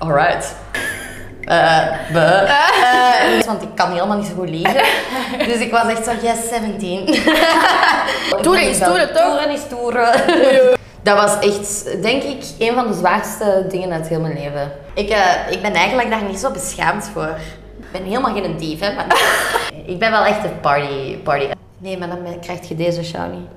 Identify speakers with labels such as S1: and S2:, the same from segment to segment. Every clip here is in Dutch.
S1: alright. Eh, buh. Eh, want ik kan helemaal niet zo goed liegen. Dus ik was echt zo, yes, 17.
S2: Toeren is toeren, toch?
S1: Toeren is toeren. Dat was echt, denk ik, een van de zwaarste dingen uit heel mijn leven. Ik, eh, ik ben eigenlijk daar niet zo beschaamd voor. Ik ben helemaal geen dief, hè. Maar ik ben wel echt een party, party. Nee, maar dan krijg je deze show niet.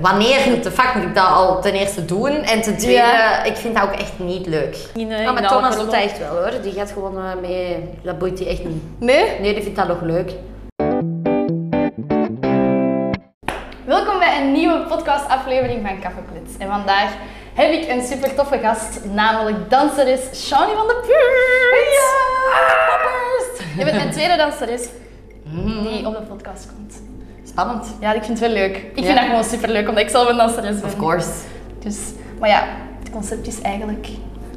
S1: Wanneer de fuck moet ik dat al ten eerste doen? En ten tweede,
S2: Ja.
S1: ik vind dat ook echt niet leuk.
S2: Niet, nee,
S1: maar
S2: in
S1: met
S2: alle
S1: Thomas doet
S2: gevallen.
S1: dat echt wel hoor. Die gaat gewoon eh, mee. Dat boeit die echt niet.
S2: Nee?
S1: Nee, die vindt dat nog leuk.
S2: Welkom bij een nieuwe podcastaflevering van Kaffeeklits. En vandaag heb ik een super toffe gast, namelijk danseres Shawnee van der Puurt. Ah. Je bent mijn tweede danseres die op de podcast komt.
S1: Spannend.
S2: Mm. Ja, ik vind het wel leuk. Ik
S1: Ja.
S2: vind dat gewoon super leuk, omdat ik zelf een danseres ben.
S1: Of course.
S2: Dus, maar ja, het concept is eigenlijk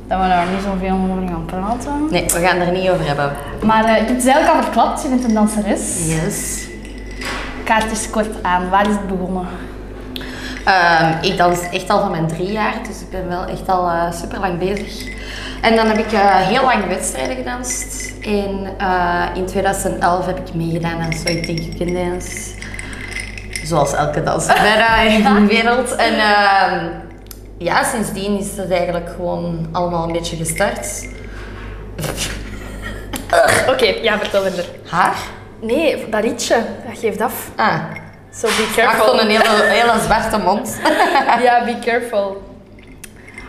S2: dat we daar niet zoveel over gaan praten.
S1: Nee, we gaan er niet over hebben.
S2: Maar eh, ik heb het eigenlijk al verklapt, je bent een danseres.
S1: Yes.
S2: Kaartjes kort aan, waar is het begonnen?
S1: Ehm, ik dans echt al van mijn drie jaar, dus ik ben wel echt al super lang bezig. En dan heb ik eh, heel lang wedstrijden gedanst. En eh, in 2011 heb ik meegedaan aan So I Think You Can Dance. Zoals elke danser bijna in de wereld. En ehm, ja, sindsdien is het eigenlijk gewoon allemaal een beetje gestart.
S2: Oké, ja, vertel verder.
S1: Haar?
S2: Nee, dat liedje, dat geeft af.
S1: Ah,
S2: So be
S1: ik
S2: careful.
S1: vond een hele, hele zwarte mond.
S2: Ja, be careful.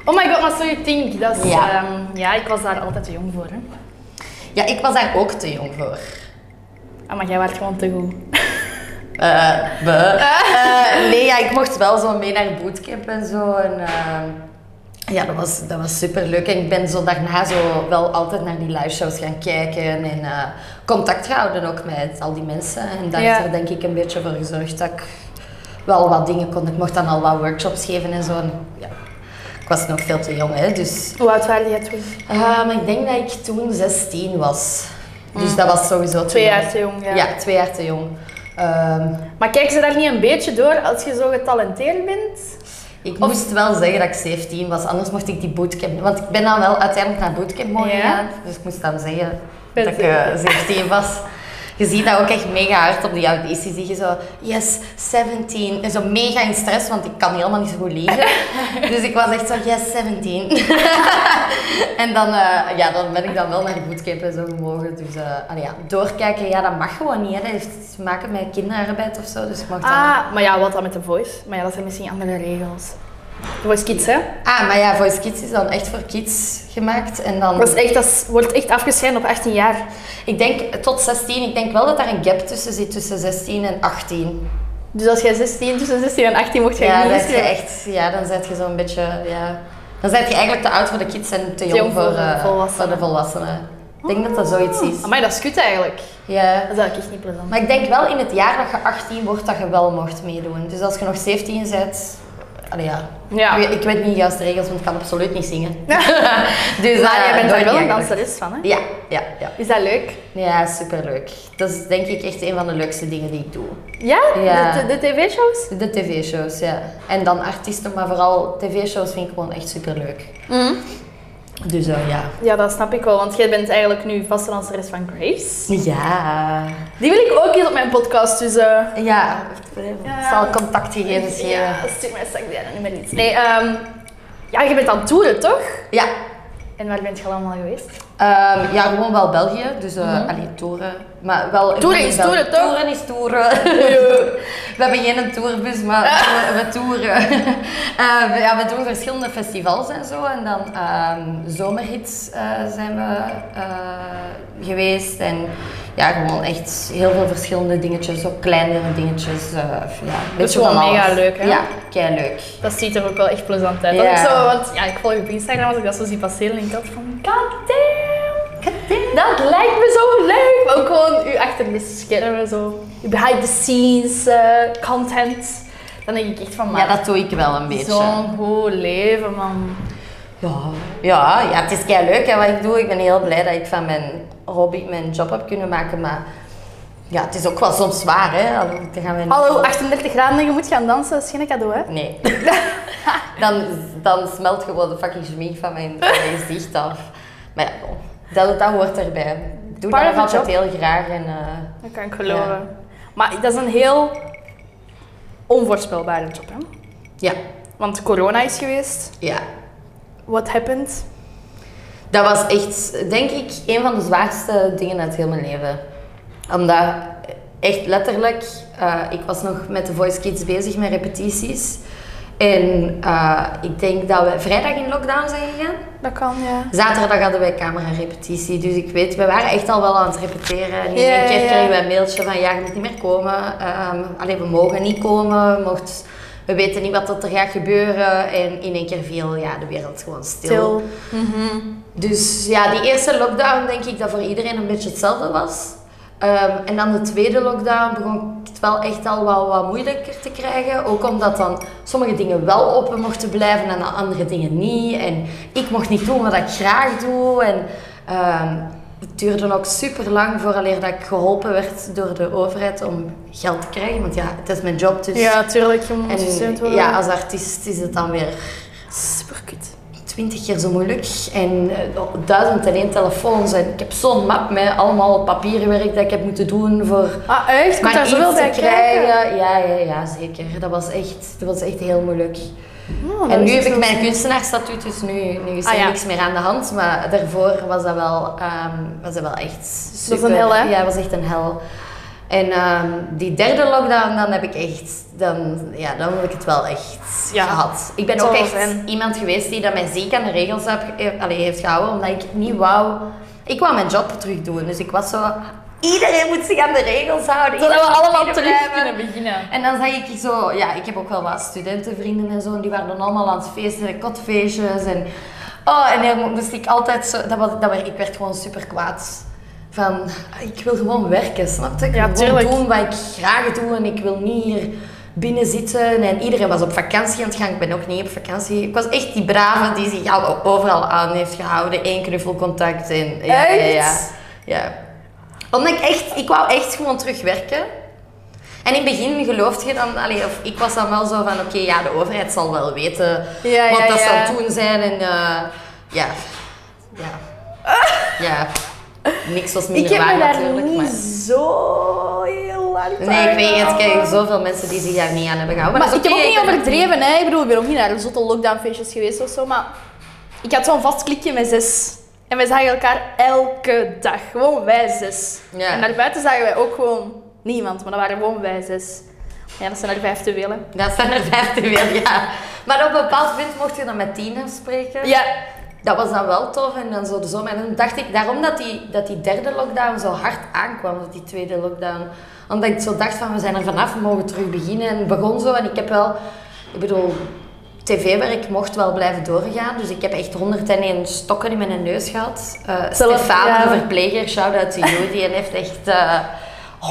S2: Oh my god, maar so you think. Dat is,
S1: Ja.
S2: ja. ja, ik was daar altijd te jong voor. Hè.
S1: Ja, ik was daar ook te jong voor.
S2: Ah, maar jij werd gewoon te goed.
S1: Eh, buh. Eh, nee, ja, ik mocht wel zo mee naar bootcamp en zo. En, eh, ja, dat was, dat was super leuk. En ik ben zo daarna zo wel altijd naar die live shows gaan kijken en eh, contact gehouden ook met al die mensen. En daar
S2: Ja.
S1: is er denk ik een beetje voor gezorgd dat ik wel wat dingen kon. Ik mocht dan al wat workshops geven en zo. En, ja, ik was nog veel te jong, hè, dus
S2: Hoe oud waren jij toen?
S1: Ehm, ik denk dat ik toen 16 was. Dus dat was sowieso te
S2: Mm. Twee
S1: jong.
S2: jaar te jong, ja.
S1: Ja, twee jaar te jong. Ehm,
S2: Maar kijk ze daar niet een beetje door als je zo getalenteerd bent?
S1: ik moest wel zeggen dat ik 17 was, anders mocht ik die bootcamp niet. Want ik ben dan wel uiteindelijk naar bootcamp mogen
S2: Ja.
S1: gaan. Dus ik moest dan zeggen
S2: Ben
S1: dat ik eh, 17 was. Je ziet dat ook echt mega hard op die auditie. Zie je zo, yes, 17. En zo mega in stress, want ik kan helemaal niet zo goed liegen. Dus ik was echt zo, yes, 17. En dan, eh, ja, dan ben ik dan wel naar de bootcamp en zo gemogen. Dus eh, allee, ja, doorkijken, ja, dat mag gewoon niet. Hè. Dat heeft te maken met kinderarbeid of zo. Dus ik mag dan...
S2: Ah, maar ja, wat dan met de voice? Maar ja, dat zijn misschien andere regels. Voice Kids, hè?
S1: Ah, maar ja, Voice Kids is dan echt voor kids gemaakt. En dan...
S2: Dat, is echt, dat is- wordt echt afgescheiden op 18 jaar.
S1: Ik denk tot 16. Ik denk wel dat daar een gap tussen zit, tussen 16 en 18.
S2: Dus als jij 16, tussen 16 en 18 mocht jij
S1: Ja,
S2: niet
S1: dat je
S2: inschrijven.
S1: echt... Ja, dan zet je zo'n beetje... Ja, dan zet je eigenlijk te oud voor de kids en te jong,
S2: jong voor
S1: voor,
S2: de
S1: eh,
S2: volwassenen.
S1: voor de volwassenen. Ik denk dat dat zoiets is.
S2: Amai, Ah, dat is kut eigenlijk.
S1: Ja.
S2: Dat is eigenlijk echt niet plezant.
S1: Maar ik denk wel in het jaar dat je 18 wordt, dat je wel mocht meedoen. Dus als je nog 17 bent... Allee, ja.
S2: Ja.
S1: Ik, ik weet niet juist de regels, want ik kan absoluut niet zingen. dus,
S2: maar
S1: eh,
S2: jij bent
S1: dat
S2: daar wel een
S1: niet eigenlijk.
S2: danseres van, hè?
S1: Ja, ja, ja.
S2: Is dat leuk?
S1: Ja, superleuk. Dat is denk ik echt een van de leukste dingen die ik doe.
S2: Ja?
S1: Ja.
S2: De, de, de tv-shows?
S1: De tv-shows, ja. En dan artiesten, maar vooral tv-shows vind ik gewoon echt superleuk.
S2: Mm.
S1: Dus eh, ja.
S2: Ja, dat snap ik wel, want jij bent eigenlijk nu vaste danseres van Grace.
S1: Ja.
S2: Die wil ik ook eens op mijn podcast, dus... eh,
S1: Ja.
S2: Ja.
S1: Ik zal contactgegevens geven. Ja.
S2: Ja, stuur mij straks die nummer niet. Nee, ehm, ja, je bent aan het toeren, toch? En waar bent je allemaal geweest?
S1: Ehm, ja, gewoon wel België. Dus, eh allee, toeren. Maar wel...
S2: Mhm. Toeren is
S1: wel-
S2: toeren, toch?
S1: Toeren is toeren. we hebben geen tourbus, maar we, we toeren. Eh, we- ja, we doen verschillende festivals en zo. En dan ehm, zomerhits eh, zijn we eh, geweest. En ja, gewoon echt heel veel verschillende dingetjes. Ook kleinere dingetjes. eh, ja, een beetje
S2: gewoon
S1: van
S2: mega
S1: alles.
S2: leuk, hè?
S1: Ja, kei leuk.
S2: Dat ziet er ook wel echt plezant uit. Dat
S1: Ja.
S2: ik zo, want ja, ik volg je op Instagram, als ik dat zo zie passeren, denk ik altijd van... God damn! Dat lijkt me zo leuk! Maar ook gewoon u achter de schermen, zo... uw behind the scenes eh, content. Dan denk ik echt van,
S1: Ja,
S2: man,
S1: dat doe ik wel een beetje.
S2: zo'n goed leven, man.
S1: Ja, ja, ja het is kei leuk hè, wat ik doe. Ik ben heel blij dat ik van mijn hobby mijn job heb kunnen maken. Maar ja, het is ook wel soms zwaar. Hè? Allee, daar gaan we niet-
S2: Hallo, 38 graden en je moet gaan dansen, dat is geen cadeau, hè?
S1: Nee. dan, dan smelt gewoon de fucking schmink van mijn, van mijn gezicht af. Maar ja, dat, dat hoort erbij. Ik doe
S2: Part
S1: dat
S2: of
S1: nog
S2: the
S1: altijd heel graag. En, eh,
S2: Dat kan ik geloven. Maar dat is een heel onvoorspelbare job, hè?
S1: ja,
S2: Want corona is geweest.
S1: ja.
S2: What happened?
S1: Dat was echt, denk ik, een van de zwaarste dingen uit heel mijn leven. Omdat, echt letterlijk, eh, ik was nog met de Voice Kids bezig met repetities. En eh, ik denk dat we vrijdag in lockdown zijn gegaan.
S2: Dat kan, ja.
S1: Zaterdag hadden wij camerarepetitie, dus ik weet, we waren echt al wel aan het repeteren. En in
S2: Ja,
S1: één keer
S2: ja.
S1: kregen we een mailtje van ja, je moet niet meer komen. Ehm allee, we mogen niet komen, mocht, we weten niet wat dat er gaat gebeuren. En in één keer viel ja, de wereld gewoon stil.
S2: Til. Mhm.
S1: Dus ja, die eerste lockdown denk ik dat voor iedereen een beetje hetzelfde was. Ehm, en dan de tweede lockdown begon ik het wel echt al wel wat moeilijker te krijgen. Ook omdat dan sommige dingen wel open mochten blijven en dan andere dingen niet. En ik mocht niet doen wat ik graag doe. En ehm, het duurde ook super lang vooraleer dat ik geholpen werd door de overheid om geld te krijgen. Want ja, het is mijn job dus.
S2: Ja, tuurlijk. Je moet gesteund
S1: en
S2: worden.
S1: ja, als artiest is het dan weer
S2: Super kut.
S1: twintig keer zo moeilijk en eh, duizend en één telefoons. En ik heb zo'n map met allemaal papierenwerk dat ik heb moeten doen voor
S2: Ah, echt? Komt daar
S1: maar
S2: zoveel
S1: iets
S2: bij
S1: te
S2: krijgen?
S1: krijgen. Ja, ja, ja, zeker. Dat was echt, dat was echt heel moeilijk.
S2: Oh, dat
S1: en nu
S2: is
S1: heb ik
S2: zo-
S1: mijn kunstenaarstatuut, dus nu, nu is er
S2: Ah, ja.
S1: niks meer aan de hand. Maar daarvoor was dat wel, ehm, was dat wel echt super.
S2: was een hel, hè?
S1: Ja, was echt een hel. En ehm, die derde lockdown, dan heb ik echt, dan, ja, dan heb ik het wel echt
S2: Ja.
S1: gehad. Ik ben
S2: Het
S1: ook
S2: zal
S1: echt
S2: wel zijn.
S1: iemand geweest die dat mij ziek aan de regels heb, eh, allee, heeft gehouden, omdat ik niet wou... Ik wou mijn job terug doen, dus ik was zo... Iedereen moet zich aan de regels houden.
S2: Zodat we
S1: iedereen moet
S2: allemaal
S1: hier
S2: terug
S1: blijven."
S2: kunnen beginnen.
S1: En dan zag ik zo, ja, ik heb ook wel wat studentenvrienden en zo, en die waren dan allemaal aan het feesten, kotfeestjes en... Oh, en dan moest ik altijd zo, dat was, dat werd, ik werd gewoon super kwaad. Van, ik wil gewoon werken, snap je? Ik
S2: Ja,
S1: wil gewoon
S2: tuurlijk.
S1: doen wat ik graag doe en ik wil niet hier binnen zitten. En iedereen was op vakantie aan het gaan, ik ben ook niet op vakantie. Ik was echt die brave die zich al- overal aan heeft gehouden, één knuffelcontact en... Ja, ja, ja,
S2: Echt?
S1: ja. Omdat ik echt, ik wou echt gewoon terugwerken. En in het begin geloofde je dan, allee, of ik was dan wel zo van, oké, ja, de overheid zal wel weten
S2: Ja,
S1: wat
S2: ja,
S1: dat
S2: ja.
S1: ze aan het doen zijn. En eh, ja, ja, ja, niks was
S2: Ik
S1: minder
S2: heb
S1: waar
S2: me daar
S1: natuurlijk.
S2: niet
S1: maar-
S2: zo heel lang
S1: Nee, ik weet het,
S2: aan
S1: kijk, zoveel mensen die zich daar niet aan hebben gehouden.
S2: Maar,
S1: Maar,
S2: ik
S1: dat is
S2: heb ook
S1: oké,
S2: niet
S1: ik ben-
S2: overdreven, hè. Ik bedoel, ik ben ook niet naar zotte lockdownfeestjes geweest of zo, maar ik had zo'n vast klikje met zes. En wij zagen elkaar elke dag. Gewoon wij zes.
S1: Ja.
S2: En daarbuiten zagen wij ook gewoon niemand, maar dat waren gewoon wij zes. Ja, dat zijn er vijf te veel, hè.
S1: Dat zijn er vijf te veel, ja. Maar op een bepaald punt mocht je dan met tien afspreken.
S2: Ja.
S1: Dat was dan wel tof en dan zo de zomer. En dan dacht ik, daarom dat die, dat die derde lockdown zo hard aankwam, dat die tweede lockdown. Omdat ik zo dacht van, we zijn er vanaf, we mogen terug beginnen. En het begon zo en ik heb wel, ik bedoel, tv-werk mocht wel blijven doorgaan. Dus ik heb echt 101 stokken in mijn neus gehad. Eh
S2: Zelf,
S1: Stefan,
S2: ja.
S1: de verpleger, shout-out to you, die heeft echt... eh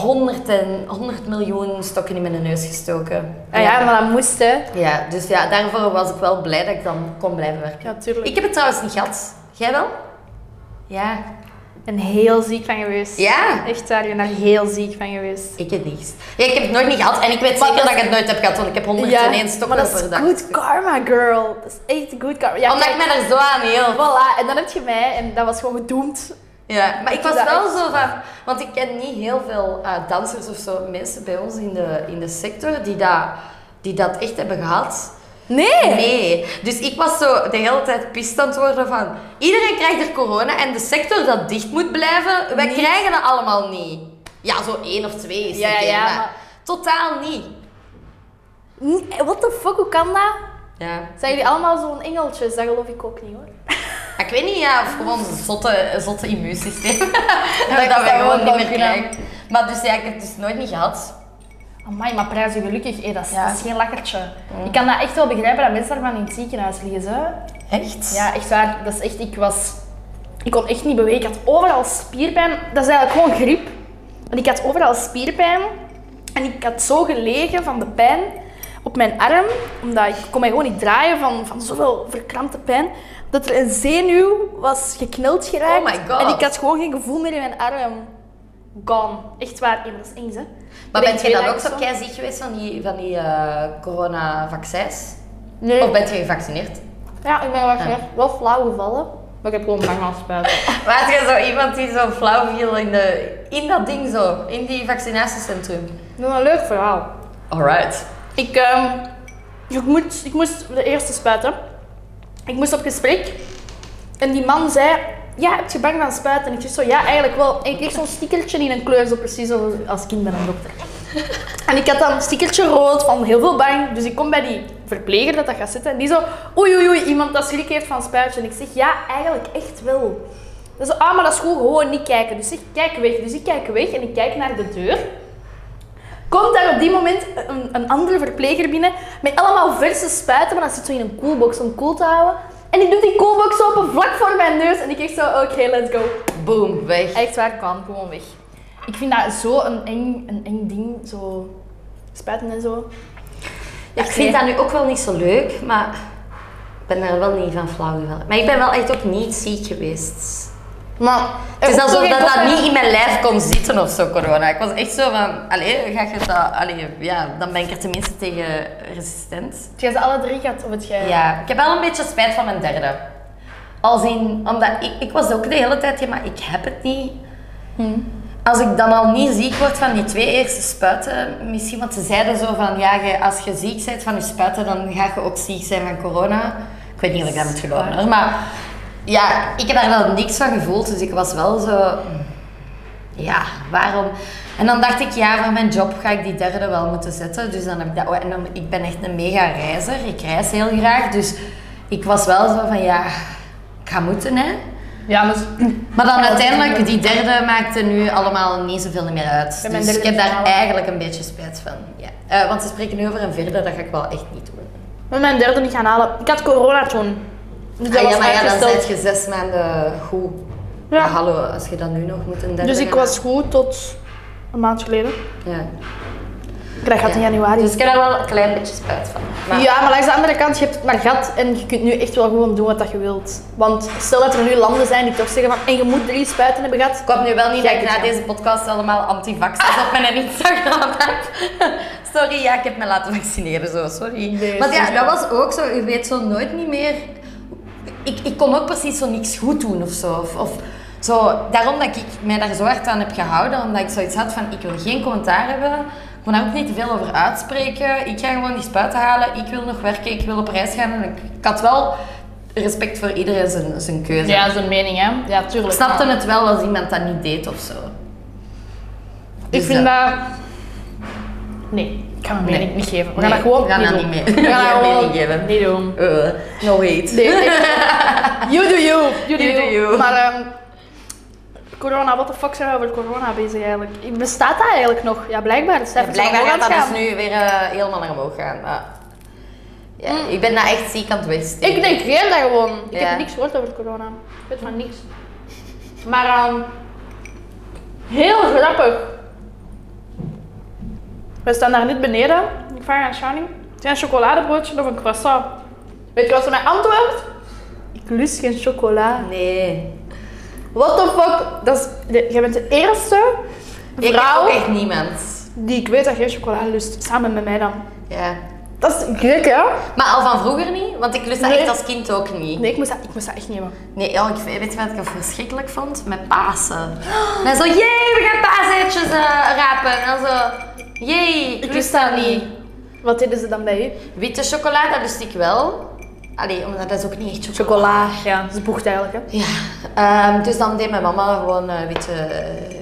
S1: 100, en, 100 miljoen stokken in mijn neus gestoken.
S2: Ah Ja, ja, maar dat moest, hè.
S1: Ja, dus ja, daarvoor was ik wel blij dat ik dan kon blijven werken.
S2: Ja, tuurlijk.
S1: Ik heb het trouwens niet gehad. Jij wel? Ja.
S2: Ik ben heel ziek van geweest.
S1: Ja.
S2: Echt waar, ik ben daar heel ziek van geweest.
S1: Ik heb niets. Ja, ik heb het nooit niet gehad en ik weet
S2: Maar
S1: zeker
S2: dat-
S1: dat ik het nooit heb gehad, want ik heb 101 stokken
S2: maar dat is
S1: per dag.
S2: good karma, girl. Dat is echt good karma. Ja,
S1: Omdat
S2: kijk,
S1: ik me er zo aan heel.
S2: Voilà, en dan heb je mij en dat was gewoon gedoemd.
S1: Ja, maar ik
S2: doe
S1: was
S2: dat
S1: wel zo van... Want ik ken niet heel veel eh, dansers of zo, mensen bij ons in de, in de sector die dat, die dat echt hebben gehad.
S2: Nee!
S1: Nee. Dus ik was zo de hele tijd pist aan het worden van... Iedereen krijgt er corona en de sector dat dicht moet blijven, wij
S2: Niet.
S1: krijgen dat allemaal niet. Ja, zo één of twee is
S2: Ja,
S1: oké,
S2: ja,
S1: maar
S2: maar-
S1: Totaal niet.
S2: Nee, What the fuck, hoe kan dat?
S1: Ja.
S2: Zijn jullie allemaal zo'n engeltjes? Dat geloof ik ook niet hoor.
S1: Maar Ik weet niet, ja, of gewoon een zotte, een zotte immuunsysteem. dat
S2: dat
S1: wij
S2: zou wel
S1: gewoon niet meer
S2: kunnen.
S1: krijgen. Maar dus ja, ik heb het dus nooit niet gehad.
S2: Amai, maar prijzen gelukkig, hé, dat, is,
S1: Ja.
S2: dat is geen lakkertje. Ik kan dat echt wel begrijpen dat mensen daarvan in het ziekenhuis liggen. Hè?
S1: Echt?
S2: Ja, echt waar. Dat is echt, ik was... Ik kon echt niet bewegen. Ik had overal spierpijn. Dat is eigenlijk gewoon griep. Want ik had overal spierpijn. En ik had zo gelegen van de pijn op mijn arm, omdat ik kon mij gewoon niet draaien van, van zoveel verkrampte pijn, dat er een zenuw was gekneld geraakt.
S1: Oh my God.
S2: En ik had gewoon geen gevoel meer in mijn arm. Gone. Echt waar. Ja, maar dat is eng, hè.
S1: Maar
S2: ben
S1: bent
S2: twee
S1: je dan ook
S2: dagen
S1: zo keiziek geweest van die, van die eh coronavaccins?
S2: Nee.
S1: Of Ah. bent je gevaccineerd?
S2: Ja, ik ben wel wel flauw gevallen. Maar ik heb gewoon bang afspuiten.
S1: Waat je zo iemand die zo flauw viel in, de, in dat ding zo, in die vaccinatiecentrum?
S2: Dat is een leuk verhaal.
S1: Alright.
S2: Ik, ehm, ik, moet, ik moest de eerste spuiten. Ik moest op gesprek. En die man zei, ja, heb je bang van spuiten? En ik zei zo, ja, eigenlijk wel. En ik kreeg zo'n stickertje in een kleur, zo precies als, als kind ben een dokter. En ik had dan een stickertje rood van heel veel bang. Dus ik kom bij die verpleger dat dat gaat zitten. En die zo, oei, oei, oei, iemand dat schrik heeft van spuitje. En ik zeg, ja, eigenlijk echt wel. Dat is, ah, maar dat is goed, gewoon niet kijken. Dus ik kijk weg. Dus ik kijk weg en ik kijk naar de deur. Komt daar op die moment een, een andere verpleger binnen met allemaal verse spuiten, maar dat zit zo in een koelbox om koel te houden. En die doet die koelbox open vlak voor mijn neus en ik echt zo, oké, let's go.
S1: Boom, weg.
S2: Echt waar, kwam gewoon weg. Ik vind dat zo een eng, een eng ding, zo spuiten en zo.
S1: Ja, ik vind dat nu ook wel niet zo leuk, maar ik ben daar wel niet van flauw gevallen. Maar ik ben wel echt ook niet ziek geweest.
S2: Maar
S1: Het
S2: Eh,
S1: is alsof dat, dat niet in mijn lijf kon zitten of zo, corona. Ik was echt zo van, allee, ga je dat, allee, ja, dan ben ik er tenminste tegen resistent.
S2: Jij ze alle drie gehad, of het jij...
S1: Ja, ik heb wel een beetje spijt van mijn derde. Als in, omdat ik, ik was ook de hele tijd, ja, maar ik heb het niet. Als ik dan al niet ziek word van die twee eerste spuiten, misschien, want ze zeiden zo van, ja, je- als je ziek bent van je spuiten, dan ga je ook ziek zijn van corona. Ik weet niet of ik dat moet geloven, hoor, maar ja, ik heb daar wel niks van gevoeld, dus ik was wel zo, mm, ja, waarom? En dan dacht ik, ja, voor mijn job ga ik die derde wel moeten zetten. Dus dan heb ik dat... oh, En dan, ik ben echt een mega reizer. Ik reis heel graag. Dus ik was wel zo van, ja, ik ga moeten, hè.
S2: Ja, dus maar...
S1: Maar dan uiteindelijk, die derde maakte nu allemaal niet zoveel meer uit.
S2: Bij mijn
S1: Dus ik
S2: derde
S1: heb daar
S2: finale.
S1: eigenlijk een beetje spijt van. Ja. Eh, want ze spreken nu over een vierde, dat ga ik wel echt niet doen.
S2: Met mijn derde niet gaan halen. Ik had corona toen. Dus dat
S1: Ah,
S2: was
S1: ja, maar ja, dan
S2: uitgesteld.
S1: zit je zes maanden goed.
S2: Ja.
S1: Maar hallo, als je dat nu nog moet een derde
S2: Dus ik
S1: gaan-
S2: was goed tot een maand geleden.
S1: Ja.
S2: Ik krijg dat in
S1: Ja.
S2: januari.
S1: Dus ik heb daar wel een klein beetje spijt van. Maar-
S2: Ja, maar langs de andere kant, je hebt het maar gehad en je kunt nu echt wel gewoon doen wat dat je wilt. Want stel dat er nu landen zijn die toch zeggen van en je moet drie spuiten hebben gehad.
S1: Ik hoop nu wel niet dat ik
S2: Kijk
S1: na
S2: het, ja.
S1: deze podcast allemaal antivaxers op mijn Instagram heb. Sorry, ja, ik heb me laten vaccineren, zo, sorry.
S2: Nee,
S1: Want ja,
S2: sorry.
S1: dat was ook zo, je weet zo nooit niet meer... Ik, ik kon ook precies zo niks goed doen of zo. Of, of zo. Daarom dat ik mij daar zo hard aan heb gehouden, omdat ik zoiets had van, ik wil geen commentaar hebben, ik kon daar ook niet te veel over uitspreken, ik ga gewoon die spuiten halen, ik wil nog werken, ik wil op reis gaan. En ik, ik had wel respect voor iedereen zijn, zijn keuze.
S2: Ja, dat is een mening, hè? Ja,
S1: Ik
S2: tuurlijk.
S1: snapte het wel als iemand dat niet deed of zo.
S2: Ik
S1: Dus
S2: vind
S1: dat-
S2: dat. Nee, ik ga mijn
S1: Nee.
S2: mening niet geven. We
S1: Nee,
S2: gaan dat gewoon
S1: we gaan
S2: niet
S1: dat
S2: doen.
S1: niet mee-
S2: We gaan
S1: geen
S2: dat gewoon
S1: mening geven.
S2: Niet doen.
S1: Eh, no hate.
S2: Nee, echt. you do you. You do
S1: You
S2: you.
S1: do you.
S2: Maar ehm, corona, what the fuck zijn we over corona bezig eigenlijk? Bestaat dat eigenlijk nog? Ja, blijkbaar. De
S1: Ja,
S2: cijfers zijn
S1: blijkbaar
S2: omhoog
S1: gaat dat
S2: aan het
S1: dus nu weer eh, helemaal naar omhoog gaan. maar- Ja, Ik ben daar echt ziek aan het westen.
S2: Mm. Ik negeer dat gewoon. Ik
S1: Ja.
S2: heb niks gehoord over corona. Ik weet van niks. Maar ehm, heel grappig. We staan daar net beneden. Ik vraag aan Shani. Is jij een chocoladebroodje of een croissant? Weet je wat ze mij antwoordt? Ik lust geen chocola.
S1: Nee.
S2: What the fuck? Dat is, de- jij bent de eerste
S1: Ik heb
S2: vrouw
S1: ook echt niemand.
S2: die ik weet dat geen chocola lust. Samen met mij dan.
S1: Ja.
S2: Dat is gek, hè?
S1: Maar al van vroeger niet, want ik lust dat
S2: Nee.
S1: echt als kind ook niet.
S2: Nee, ik moest dat, ik moest dat echt niet hebben.
S1: Nee, ja, ik, weet je wat ik verschrikkelijk vond? Met Pasen. En dan zo, jee, we gaan paaseitjes eh, rapen. En dan zo, jee, ik lust dat niet.
S2: Wat deden ze dan bij je?
S1: Witte chocolade, dat lust ik wel. Allee, omdat dat is ook niet echt chocolade.
S2: Chocola, ja. Dat is bocht eigenlijk, hè?
S1: Ja, ehm, dus dan deed mijn mama gewoon eh, witte,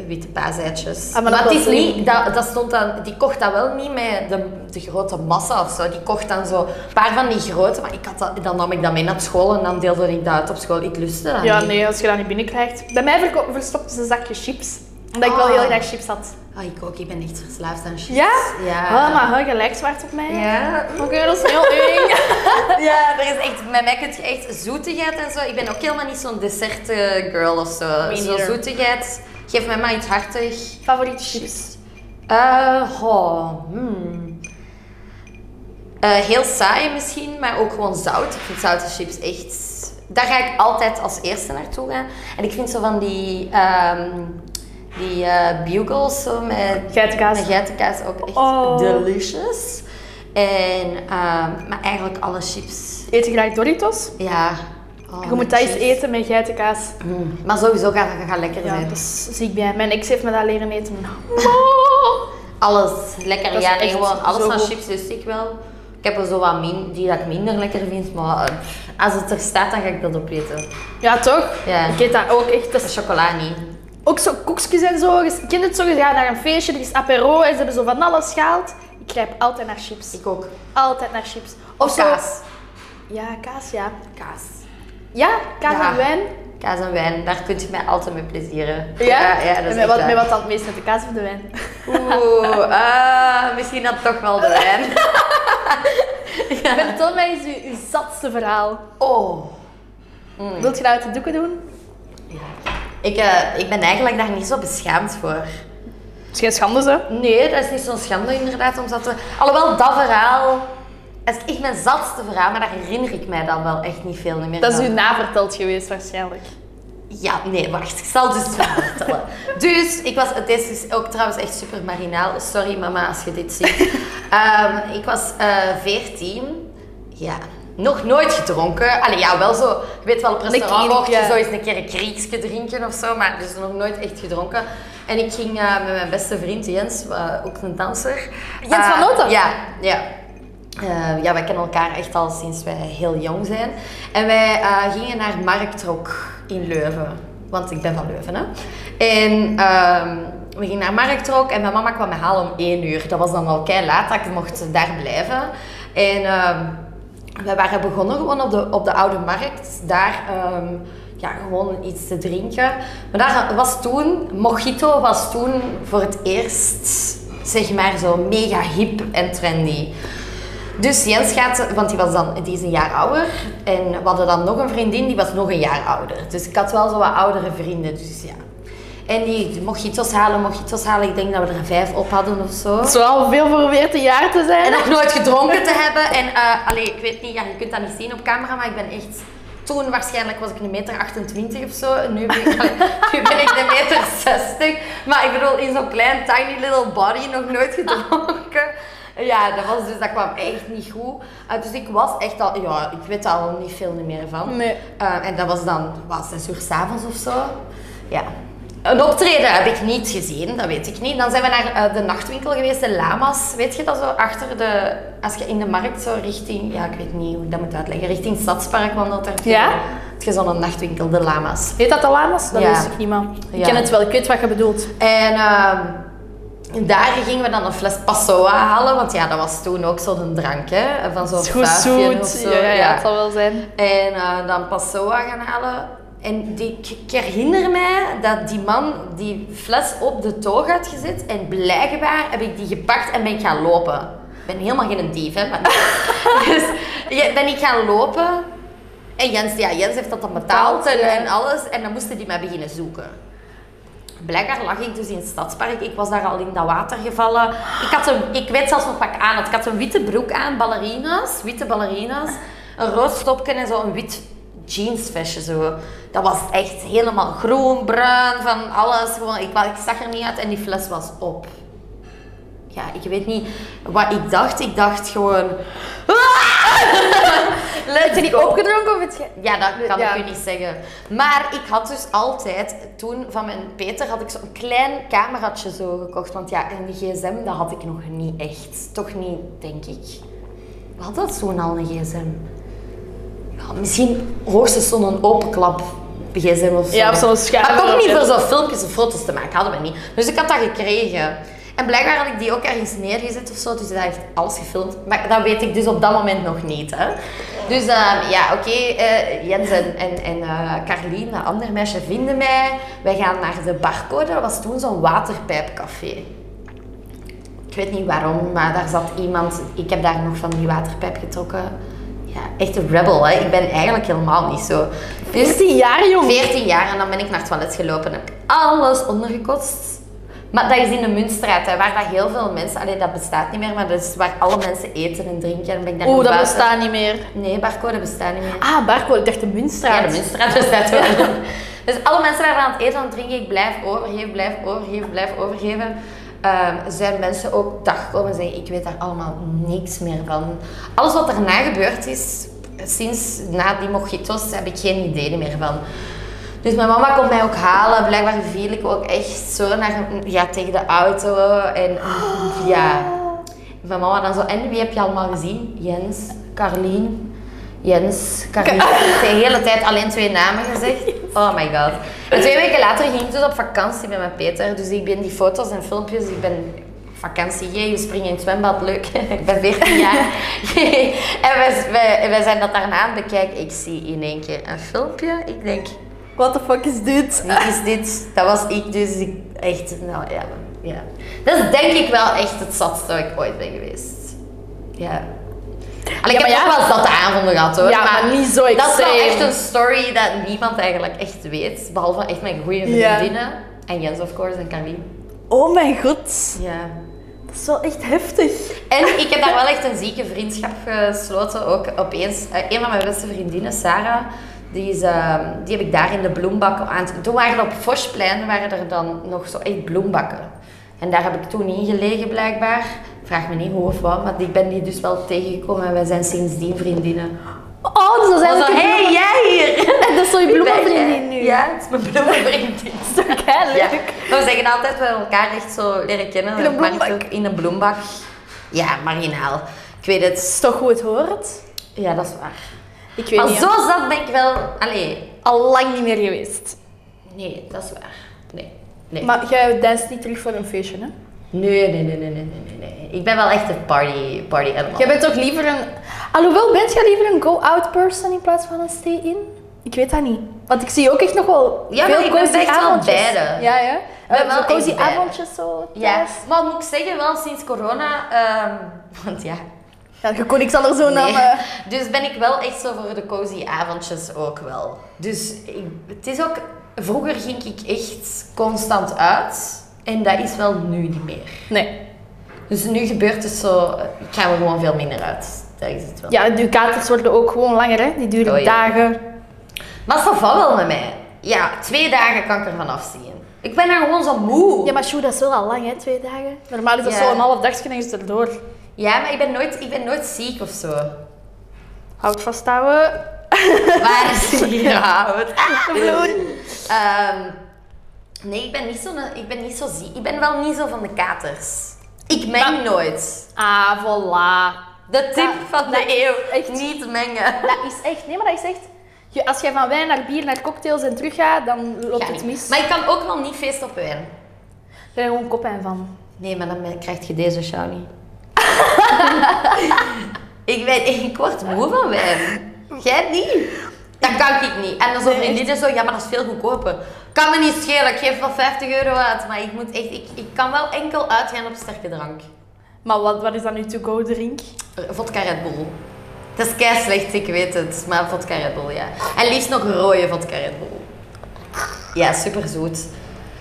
S1: witte paaseitjes.
S2: Ah, maar
S1: maar
S2: dat
S1: het is
S2: was slim.
S1: niet, dat, dat stond dan, die kocht dat wel niet met de, de grote massa of zo. Die kocht dan zo een paar van die grote, maar ik had dat, dan nam ik dat mee naar school en dan deelde ik dat uit op school. Ik lustte dat
S2: Ja,
S1: niet.
S2: nee, als je dat niet binnenkrijgt. Bij mij verko- verstopte ze een zakje chips. Omdat ik wel
S1: Ah.
S2: heel erg chips had.
S1: Ah, ik ook, ik ben echt verslaafd aan chips.
S2: Ja?
S1: Ja.
S3: Ah,
S2: Oh, maar hij gelijk zwart op mij.
S1: Ja.
S2: Oké, dat is heel eng.
S1: ja, er is echt, met mij kun je echt zoetigheid en zo. Ik ben ook helemaal niet zo'n dessert eh, girl of zo.
S2: Me
S1: Zo'n
S2: neither.
S1: zoetigheid, geef mij maar iets hartig.
S2: Favoriete chips?
S1: Eh, oh, hmm. Eh, heel saai misschien, maar ook gewoon zout. Ik vind zoute chips echt... Daar ga ik altijd als eerste naartoe gaan. En ik vind zo van die... ehm, die eh bugles zo met,
S2: Geitenkaas.
S1: met geitenkaas ook echt
S2: Oh.
S1: delicious. En, ehm, maar eigenlijk alle chips.
S3: Eet je graag Doritos?
S1: Ja. alle
S3: je moet dat eens
S1: chips.
S3: eten met geitenkaas.
S1: Mm. Maar sowieso gaat dat gaat lekker
S3: Ja,
S1: zijn.
S3: dat is ziek bij. Mijn ex heeft me dat leren eten. Mo!
S1: Alles lekker.
S3: Dat is
S1: Ja, nee,
S3: echt
S1: gewoon alles
S3: zo
S1: van
S3: goed.
S1: chips lust ik wel. Ik heb er zo wat min, die dat ik minder lekker vind, maar eh, als het er staat, dan ga ik dat opeten.
S3: Ja, toch?
S1: Ja.
S3: Ik eet dat ook echt. Dat is
S1: Chocola niet.
S3: ook zo koekjes en zo. Je kent het zo, je gaat naar een feestje, er is apero en ze hebben zo van alles gehaald. Ik grijp altijd naar chips.
S1: Ik ook.
S3: Altijd naar chips.
S1: Of
S3: zo-
S1: kaas.
S3: Ja, kaas, ja.
S1: Kaas.
S3: Ja, kaas
S1: Ja.
S3: en wijn.
S1: Kaas en wijn, daar kun je mij altijd mee plezieren. ja, dat is
S3: en met
S1: echt
S3: wat, met
S1: waar.
S3: wat dan het meest? Met de kaas of de wijn?
S1: Oeh, ah, misschien dan toch wel de wijn.
S3: Vertel mij eens uw, uw zatste verhaal.
S1: Oh.
S3: Wilt je dat uit de doeken doen?
S1: Ik, eh, ik ben eigenlijk daar niet zo beschaamd voor.
S3: Het is geen schande, zo.
S1: Nee, dat is niet zo'n schande inderdaad om zat te... Alhoewel, dat verhaal... Dat is echt mijn zatste verhaal, maar daar herinner ik mij dan wel echt niet veel meer
S3: Dat is
S1: van.
S3: u naverteld geweest, waarschijnlijk.
S1: Ja, nee, wacht. Ik zal dus het verhaal vertellen. Dus, ik was... Het is ook trouwens echt super marginaal. Sorry mama als je dit ziet. Ehm, ik was veertien. ja. Nog nooit gedronken. Allee, ja, wel zo... Je weet wel, op restaurant
S3: Een
S1: mocht je
S3: kriekje.
S1: zo eens een keer een kriekje drinken of zo. Maar dus nog nooit echt gedronken. En ik ging eh, met mijn beste vriend Jens, eh, ook een danser.
S3: Jens
S1: Eh,
S3: van Noten?
S1: Ja, ja. Eh, ja, wij kennen elkaar echt al sinds wij heel jong zijn. En wij eh, gingen naar Marktrok in Leuven. Want ik ben van Leuven, hè. En ehm, we gingen naar Marktrok en mijn mama kwam me halen om één uur. Dat was dan al kei laat dat ik mocht daar blijven. En ehm, wij waren begonnen gewoon op de, op de Oude Markt. Daar ehm, ja, gewoon iets te drinken. Maar daar was toen... Mojito was toen voor het eerst, zeg maar, zo mega hip en trendy. Dus Jens gaat, want die, was dan, die is een jaar ouder. En we hadden dan nog een vriendin, die was nog een jaar ouder. Dus ik had wel zo wat oudere vrienden, dus ja. En die mojitos halen, mojitos halen. Ik denk dat we er vijf op hadden of zo.
S3: Het is wel veel voor 14 jaar te zijn.
S1: En nog nooit gedronken te hebben. En eh, allee, ik weet niet, ja, je kunt dat niet zien op camera, maar ik ben echt... Toen waarschijnlijk was ik een meter 28 of zo. En nu ben ik, allee, nu ben ik een meter 60. Maar ik bedoel, in zo'n klein tiny little body nog nooit gedronken. Ja, dat, was dus, dat kwam echt niet goed. Eh, dus ik was echt al... Ja, ik weet daar al niet veel meer van.
S3: Nee.
S1: Eh, en dat was dan, wat, zes uur s'avonds of zo. Ja. Een optreden heb ik niet gezien, dat weet ik niet. Dan zijn we naar eh, de nachtwinkel geweest, de Lama's. Weet je dat zo achter de... Als je in de markt zo richting... Ja, ik weet niet hoe ik dat moet uitleggen. Richting Stadspark wandelt daar.
S3: Ja?
S1: Heb je zo'n nachtwinkel, de Lama's.
S3: Heet dat de lamas? Dat
S1: Ja.
S3: wist ik niet, man. Ik
S1: Ja.
S3: ken het wel, ik weet wat je bedoelt.
S1: En ehm, daar gingen we dan een fles Passoa halen. Want ja, dat was toen ook zo'n drank, hè. Van zo'n
S3: Het is goed
S1: vijfje of
S3: zoet.
S1: zo.
S3: Ja, ja, ja, het zal wel zijn.
S1: En eh, dan Passoa gaan halen. En die, ik- ik herinner mij dat die man die fles op de toog had gezet. En blijkbaar heb ik die gepakt en ben ik gaan lopen. Ik ben helemaal geen dief, hè. Maar dus ja, ben ik gaan lopen. En Jens, ja, Jens heeft dat dan betaald en,
S3: Betaald, ja.
S1: en alles. En dan moesten die mij beginnen zoeken. Blijkbaar lag ik dus in het stadspark. Ik was daar al in dat water gevallen. Ik, had een, ik weet zelfs nog wat ik aan had. Ik had een witte broek aan, ballerina's, witte ballerina's. Een rood stopje en zo'n wit jeansvestje. Zo. Dat was echt helemaal groen, bruin, van alles. Gewoon, ik, wa- ik zag er niet uit en die fles was op. Ja, ik weet niet wat ik dacht. Ik dacht gewoon... "Ah!" Let
S3: Heb je die opgedronken of het ge-
S1: ja, dat kan
S3: Ja.
S1: ik u niet zeggen. Maar ik had dus altijd, toen van mijn Peter, had ik zo'n klein cameraatje zo gekocht. Want ja, een gsm, dat had ik nog niet echt. Toch niet, denk ik. We hadden dat toen al, een gsm. Ja, Nou, misschien hoogstens zo'n openklap gsm of zo.
S3: Ja, op zo'n scherm
S1: Maar toch
S3: of
S1: niet
S3: zo.
S1: voor zo'n filmpjes of foto's te maken, hadden we niet. Dus ik had dat gekregen. En blijkbaar had ik die ook ergens neergezet of zo, dus dat heeft alles gefilmd. Maar dat weet ik dus op dat moment nog niet. Hè. Dus ehm, ja, oké, eh, Jens en, en, en eh, Carlien, dat andere meisje, vinden mij. Wij gaan naar de barcode, dat was toen zo'n waterpijpcafé. Ik weet niet waarom, maar daar zat iemand. Ik heb daar nog van die waterpijp getrokken. Ja, echt een rebel, hè. Ik ben eigenlijk helemaal niet zo. Dus
S3: 14 jaar, jong.
S1: 14 jaar en dan ben ik naar het toilet gelopen en heb ik alles ondergekotst. Maar dat is in de Muntstraat, hè, waar dat heel veel mensen... Allee, dat bestaat niet meer, maar dat is waar alle mensen eten en drinken. En ben ik daar
S3: Oeh,
S1: nog
S3: dat
S1: buiten.
S3: bestaat niet meer.
S1: Nee, barcode bestaat niet meer.
S3: Ah, Barco, ik dacht de Munstraat.
S1: Ja, de Muntstraat bestaat wel. dus alle mensen waren aan het eten en drinken. Ik blijf overgeven, blijf overgeven, blijf overgeven. ehm, zijn mensen ook dag komen zeggen, ik weet daar allemaal niks meer van. Alles wat daarna gebeurd is, sinds na die mojitos, heb ik geen idee meer van. Dus mijn mama komt mij ook halen. Blijkbaar viel ik ook echt zo naar, ja, tegen de auto. En ja, mijn mama dan zo. En wie heb je allemaal gezien? Jens, Carlien. Jens, Carlien. De hele tijd alleen twee namen gezegd. Oh my god. En twee weken later ging ik dus op vakantie met mijn Peter. Dus ik ben die foto's en filmpjes, ik ben vakantie, jee, we springen in het zwembad, leuk. ik ben 14 jaar. Jee. en wij, wij, wij zijn dat daarna aan het bekijken. Ik zie in één keer een filmpje. Ik denk,
S4: What the fuck is dit?
S1: wie is dit? Dat was ik dus. Ik, echt, nou ja, ja. Dat is denk ik wel echt het zatste dat ik ooit ben geweest. Ja. Allee, ik
S2: maar
S1: heb
S2: ja.
S1: ook wel zatte avonden gehad hoor.
S2: Ja, maar niet zo
S1: Dat is wel
S2: extreem.
S1: echt een story dat niemand eigenlijk echt weet. Behalve echt mijn goede
S4: Ja.
S1: vriendinnen. En Jens of course en Karin.
S4: Oh mijn god.
S1: Ja.
S4: Dat is wel echt heftig.
S1: En ik heb daar wel echt een zieke vriendschap gesloten. Ook opeens, eh, een van mijn beste vriendinnen, Sarah, die, is, ehm, die heb ik daar in de bloembak aan het... Toen waren er op Vosplein waren er dan nog zo echt bloembakken. En daar heb ik toen ingelegen blijkbaar. Vraag me niet hoe of wat, maar ik ben die dus wel tegengekomen en wij zijn sindsdien vriendinnen.
S2: Oh, dus dat
S1: Hé,
S2: zijn
S1: zo, hey, jij hier!
S2: Dat is zo je bloemenvriendin
S1: Ben eh,
S2: nu.
S1: jij? Ja, het is mijn bloemenvriendin.
S2: Dat is toch heel
S1: Ja.
S2: leuk.
S1: Maar we zeggen altijd, we hebben elkaar echt zo leren kennen.
S4: In een
S1: Maar het
S4: bloembak.
S1: ook In een bloembak. Ja, marginaal. Ik weet het.
S4: Dat is toch hoe het hoort?
S1: Ja, dat is waar.
S4: Ik weet
S1: Maar
S4: niet.
S1: zo zat ben ik wel... Allee,
S2: Al lang niet meer geweest.
S1: nee, dat is waar. Nee, nee.
S4: Maar jij danst niet terug voor een feestje, hè?
S1: Nee, nee, nee, nee, nee, nee, nee, nee. Ik ben wel echt een party, party animal.
S2: Jij bent toch liever een... Alhoewel, bent jij liever een go-out person in plaats van een stay-in?
S4: Ik weet dat niet. Want ik zie ook echt nog wel
S1: Ja, maar
S4: veel
S1: ik ben
S4: cozy
S1: echt wel
S4: avondjes.
S1: beide.
S4: Ja, ja.
S1: ben
S4: Eh,
S1: wel
S4: zo cozy
S1: echt beide.
S4: avondjes zo.
S1: Ja,
S4: thuis.
S1: maar moet ik zeggen, wel sinds corona... ehm, want ja...
S4: Ja, je kon niks anders doen dan...
S1: Nee.
S4: eh,
S1: Dus ben ik wel echt zo voor de cozy avondjes ook wel. Dus ik, het is ook... Vroeger ging ik echt constant uit. En dat is wel nu niet meer.
S2: Nee.
S1: Dus nu gebeurt het zo... eh, Ik ga er gewoon veel minder uit. Dat is het wel.
S2: Ja, de katers worden ook gewoon langer, hè. Die duren
S1: Oh, ja.
S2: dagen.
S1: Maar dat valt wel met mij. Ja, twee dagen kan ik ervan afzien. Ik ben daar gewoon zo moe.
S2: Ja, maar Sjoe, dat is wel al lang, hè. Twee dagen. Normaal is dat
S1: Ja.
S2: zo een half dagje en is het erdoor.
S1: Ja, maar ik ben nooit, ik ben nooit ziek of zo.
S2: Houd vasthouden.
S1: Waar is die gehouden?
S4: de vloer.
S1: Ehm, nee, ik ben, niet zo, ik ben niet zo ziek. Ik ben wel niet zo van de katers. Ik meng nooit.
S2: Ah, voilà.
S1: De tip van de
S2: dat is
S1: eeuw.
S2: echt-
S1: Niet mengen.
S2: Dat is echt... Nee, maar dat is echt... Je, als jij van wijn naar bier, naar cocktails en terug gaat, dan loopt
S1: Ga
S2: het
S1: niet.
S2: mis.
S1: Maar ik kan ook nog niet feest op wijn.
S2: Ik ben er gewoon kopijn van.
S1: Nee, maar dan krijg je deze show niet. ik, ben, ik word moe van wijn. Jij niet. Dat kan ik niet. En dan zo'n vriendinnen zo, ja, maar dat is veel goedkoper. Kan me niet schelen, ik geef wel 50 euro uit. Maar ik, moet echt, ik, ik kan wel enkel uitgaan op sterke drank.
S2: Maar wat, wat is dan nu to-go drink?
S1: Eh, Vodka Red Bull. Dat is kei slecht, ik weet het. Maar vodka Red Bull, ja. En liefst nog rode vodka Red Bull. Ja, super zoet.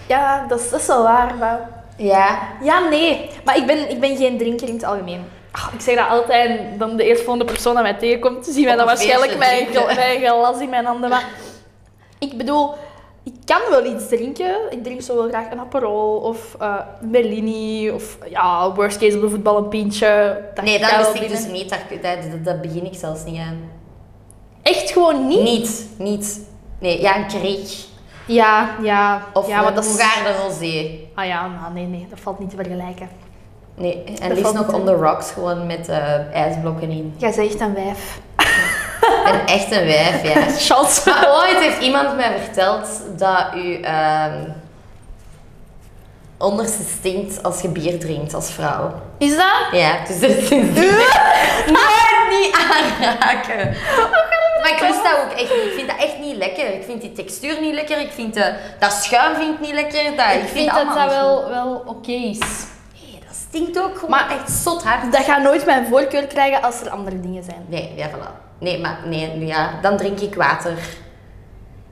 S2: Ja, dat is, dat is wel waar, maar...
S1: Ja,
S2: Ja, nee. Maar ik ben, ik ben geen drinker in het algemeen. Ah, ik zeg dat altijd en dan de eerstvolgende persoon die mij tegenkomt, zien mij
S1: Op
S2: dan
S1: een
S2: waarschijnlijk mijn,
S1: feestje
S2: gel- mijn glas in mijn handen. Maar ik bedoel, ik kan wel iets drinken. Ik drink zo wel graag een Aperol of eh Bellini of ja, worst case op de voetbal een pintje. Dat
S1: nee,
S2: gaat
S1: dat
S2: wel
S1: wist ik
S2: binnen.
S1: dus niet. Daar, dat, dat- dat begin ik zelfs niet aan.
S2: Echt gewoon niet?
S1: Niet, niet. Nee, ja, een kreeg.
S2: Ja, ja.
S1: Of eh,
S2: ja,
S1: een
S2: maar dat is-
S1: Hongaarde rosé.
S2: Ah ja, nou, nee, nee, dat valt niet te vergelijken.
S1: Nee, en
S2: Dat
S1: liefst
S2: valt
S1: nog
S2: niet
S1: on
S2: in.
S1: the rocks, gewoon met eh, ijsblokken in.
S2: Jij zegt echt een wijf.
S1: Ik ben echt een wijf, ja.
S2: Chance.
S1: Maar ooit heeft iemand mij verteld dat u ehm, onderste stinkt als je bier drinkt als vrouw.
S2: Is dat?
S1: Ja, dus dat is nooit niet aanraken. Maar ik lust dat ook echt niet. Ik vind dat echt niet lekker. Ik vind die textuur niet lekker. Ik vind de, dat schuim vind ik niet lekker. Dat,
S2: Ik vind dat
S1: allemaal
S2: dat
S1: niet
S2: wel, wel oké is.
S1: goed. Nee, dat stinkt ook gewoon
S2: Maar-
S1: echt zot hard.
S2: Dat gaat nooit mijn voorkeur krijgen als er andere dingen zijn.
S1: Nee, ja, voilà. Nee, maar nee, nu ja, dan drink ik water.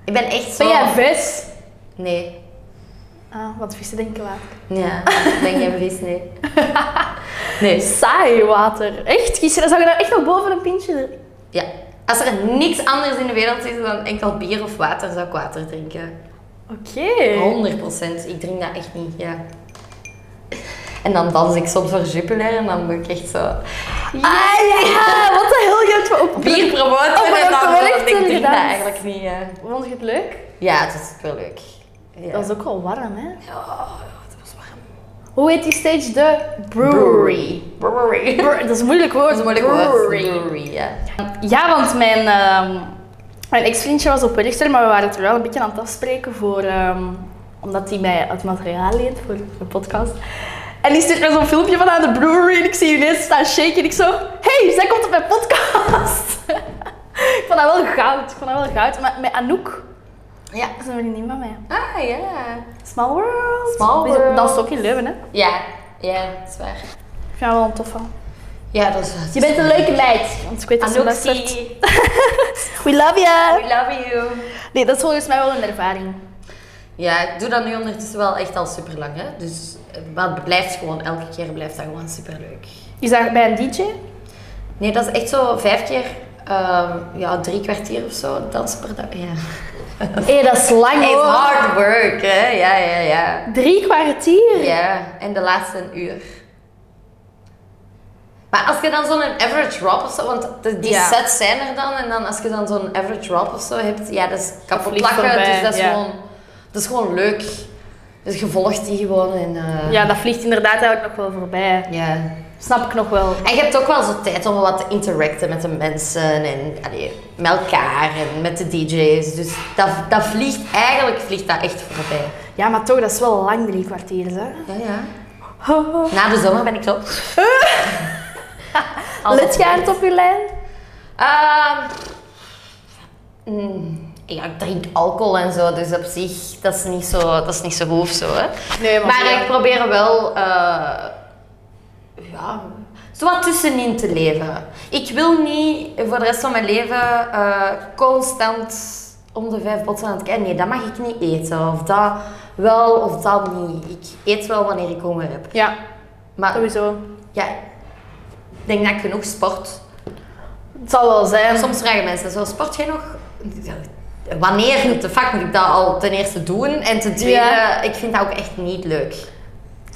S1: Ik ben echt zo...
S2: Ben jij vis?
S1: Nee.
S2: Ah, want vissen denken water.
S1: Ja, ik ben geen vis, nee. Nee.
S2: Saai water. Echt? Gisteren zag je daar echt nog boven een pintje. er-
S1: Ja. Als er niks anders in de wereld is dan enkel bier of water, zou ik water drinken.
S2: Oké.
S1: Oh. 100 procent. Ik drink dat echt niet, ja. En dan dans ik soms voor Jupiler en dan moet ik echt zo...
S2: Ah ja, wat de hel, je hebt me op...
S1: Bier promoten
S2: Oh, maar
S1: en
S2: dat
S1: dan
S2: wil ik
S1: ik
S2: toen
S1: drink dat
S2: gedaan.
S1: eigenlijk niet. eh.
S2: Vond je het leuk?
S1: Ja, het is wel leuk. Ja.
S2: Dat is ook wel warm, hè?
S1: Oh, dat was warm.
S2: Hoe heet die stage? De brewery.
S1: Brewery.
S2: Bre- dat is een moeilijk woord.
S1: Dat is een moeilijk woord.
S2: Brewery.
S1: Brewery, ja.
S2: Ja, want mijn, ehm, mijn ex-vriendje was op Richter, maar we waren het er wel een beetje aan het afspreken voor... ehm, omdat hij mij het materiaal leent voor de podcast. En die stuurt me zo'n filmpje van aan de brewery en ik zie ineens staan shaken en ik zo... hey, zij komt op mijn podcast! ik vond dat wel goud, ik vond dat wel goud. Maar met Anouk,
S1: Ja.
S2: dat is een vriendin van mij.
S1: Ah, ja.
S2: Small World.
S1: Small
S2: Die
S1: World.
S2: danst ook in Leuven, hè?
S1: Ja, ja, dat is waar.
S2: Ik vind haar wel een toffe.
S1: Ja, dat is...
S2: Je bent een leuke meid. Want ik weet dat ze
S1: Anouk,
S2: luistert.
S1: see,
S2: We love
S1: we
S2: you.
S1: love you.
S2: Nee, dat is volgens mij wel een ervaring.
S1: Ja, ik doe dat nu ondertussen wel echt al super lang. Hè? Dus eh, maar het blijft gewoon, elke keer blijft dat gewoon super leuk.
S2: Is dat bij een DJ?
S1: Nee, dat is echt zo vijf keer, ehm, ja, drie kwartier of zo dansen per dag. Ja.
S2: Hé, dat is lang
S1: It's
S2: hoor.
S1: hard work, hè? Ja, ja, ja.
S2: Drie kwartier?
S1: Ja, en de laatste een uur. Maar als je dan zo'n average rap of zo, want de- die
S2: Ja.
S1: sets zijn er dan, en dan als je dan zo'n average rap of zo hebt, ja, dat is kapot
S2: vliegt
S1: lachen,
S2: voorbij,
S1: dus dat is,
S2: ja.
S1: gewoon, dat is gewoon leuk. Dus je volgt die gewoon en... eh,
S2: Ja, dat vliegt inderdaad eigenlijk nog wel voorbij.
S1: ja.
S2: Snap ik nog wel.
S1: En je hebt ook wel zo tijd om wat te interacten met de mensen en allee, met elkaar en met de DJ's. Dus dat, dat vliegt, eigenlijk vliegt dat echt voorbij.
S2: Ja, maar toch, dat is wel lang drie kwartier, hè?
S1: Ja, ja. Na de zomer ben ik zo...
S2: Let jij het op je lijn?
S1: Ehm, mm, ja, ik drink alcohol en zo, dus op zich, dat is niet zo, dat is niet zo hoef zo. Hè.
S2: Nee,
S1: Maar ik probeer wel, eh ja, zo wat tussenin te leven. Ik wil niet voor de rest van mijn leven eh, constant om de vijf botten aan het kijken. Nee, dat mag ik niet eten. Of dat wel, of dat niet. Ik eet wel wanneer ik honger heb.
S2: Ja,
S1: Maar
S2: sowieso.
S1: ja, ik denk dat ik genoeg sport
S2: Het zal wel zijn.
S1: en soms vragen mensen, zo, sport jij nog? Wanneer de fuck moet ik dat al ten eerste doen? En ten tweede,
S2: Ja.
S1: ik vind dat ook echt niet leuk.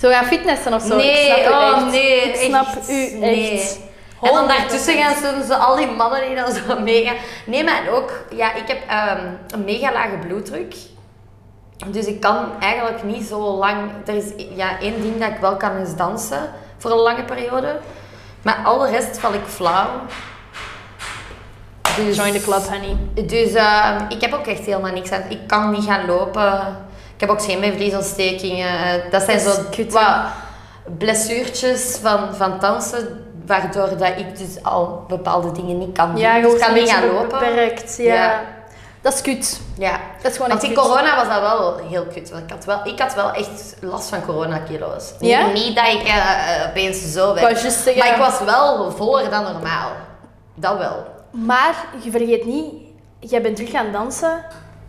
S2: Zo gaan fitnessen of zo.
S1: nee,
S2: ik snap
S1: oh
S2: u echt.
S1: nee.
S2: Ik snap
S1: echt,
S2: u echt.
S1: nee. En dan daartussen gaan ze, ze al die mannen die dan zo mega... Nee, maar ook, ja, ik heb ehm, een mega lage bloeddruk. Dus ik kan eigenlijk niet zo lang... Er is ja, één ding dat ik wel kan, is dansen. Voor een lange periode. Maar al de rest val ik flauw. Dus,
S2: Join the club, honey.
S1: dus eh, ik heb ook echt helemaal niks aan. Ik kan niet gaan lopen. Ik heb ook scheenbeenvliesontstekingen. Dat zijn
S2: Dat is
S1: zo
S2: kut, hè?
S1: wat blessuurtjes van, van dansen, waardoor dat ik dus al bepaalde dingen niet kan doen.
S2: Ja, je
S1: dus ik
S2: wordt
S1: kan
S2: een
S1: niet gaan
S2: beetje
S1: lopen.
S2: beperkt. Ja.
S1: Ja.
S2: Dat is kut.
S1: Ja.
S2: Dat is gewoon
S1: Want
S2: echt
S1: in
S2: kut.
S1: corona was dat wel heel kut. Want ik had wel, ik had wel echt last van coronakilo's.
S2: Ja?
S1: Niet, niet dat ik eh, eh, opeens zo
S2: Ik wou
S1: werd.
S2: juist zeggen-
S1: Maar ik was wel voller dan normaal. Dat wel.
S2: Maar je vergeet niet, jij bent terug gaan dansen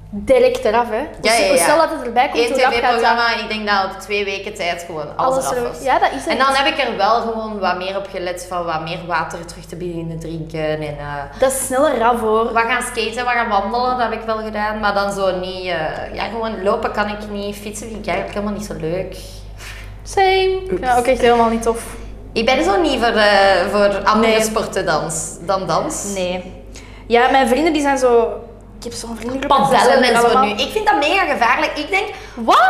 S2: direct eraf, hè? Dus
S1: ja, ja. E
S2: stel dat het erbij komt,
S1: Eén
S2: hoe rap gaat dat?
S1: tv-programma, ik denk dat op twee weken tijd gewoon alles,
S2: Alles
S1: eraf
S2: er-
S1: was.
S2: Ja, dat is het.
S1: En dan heb ik er wel gewoon wat meer op gelet van wat meer water terug te beginnen drinken. En eh
S2: Dat is sneller raf, hoor.
S1: we gaan skaten, we gaan wandelen, dat heb ik wel gedaan. Maar dan zo niet... eh, ja, gewoon lopen kan ik niet, fietsen vind ik eigenlijk helemaal niet zo leuk.
S2: Same. Ja, ook echt helemaal niet tof.
S1: Ik ben zo niet voor, eh, voor andere sporten dans, dan dans.
S2: Nee. Ja, mijn vrienden die zijn zo... Ik heb zo'n vriendengroep.
S1: Padellen en zo
S2: allemaal-
S1: nu. Ik vind dat mega gevaarlijk. Ik denk,
S2: Wat?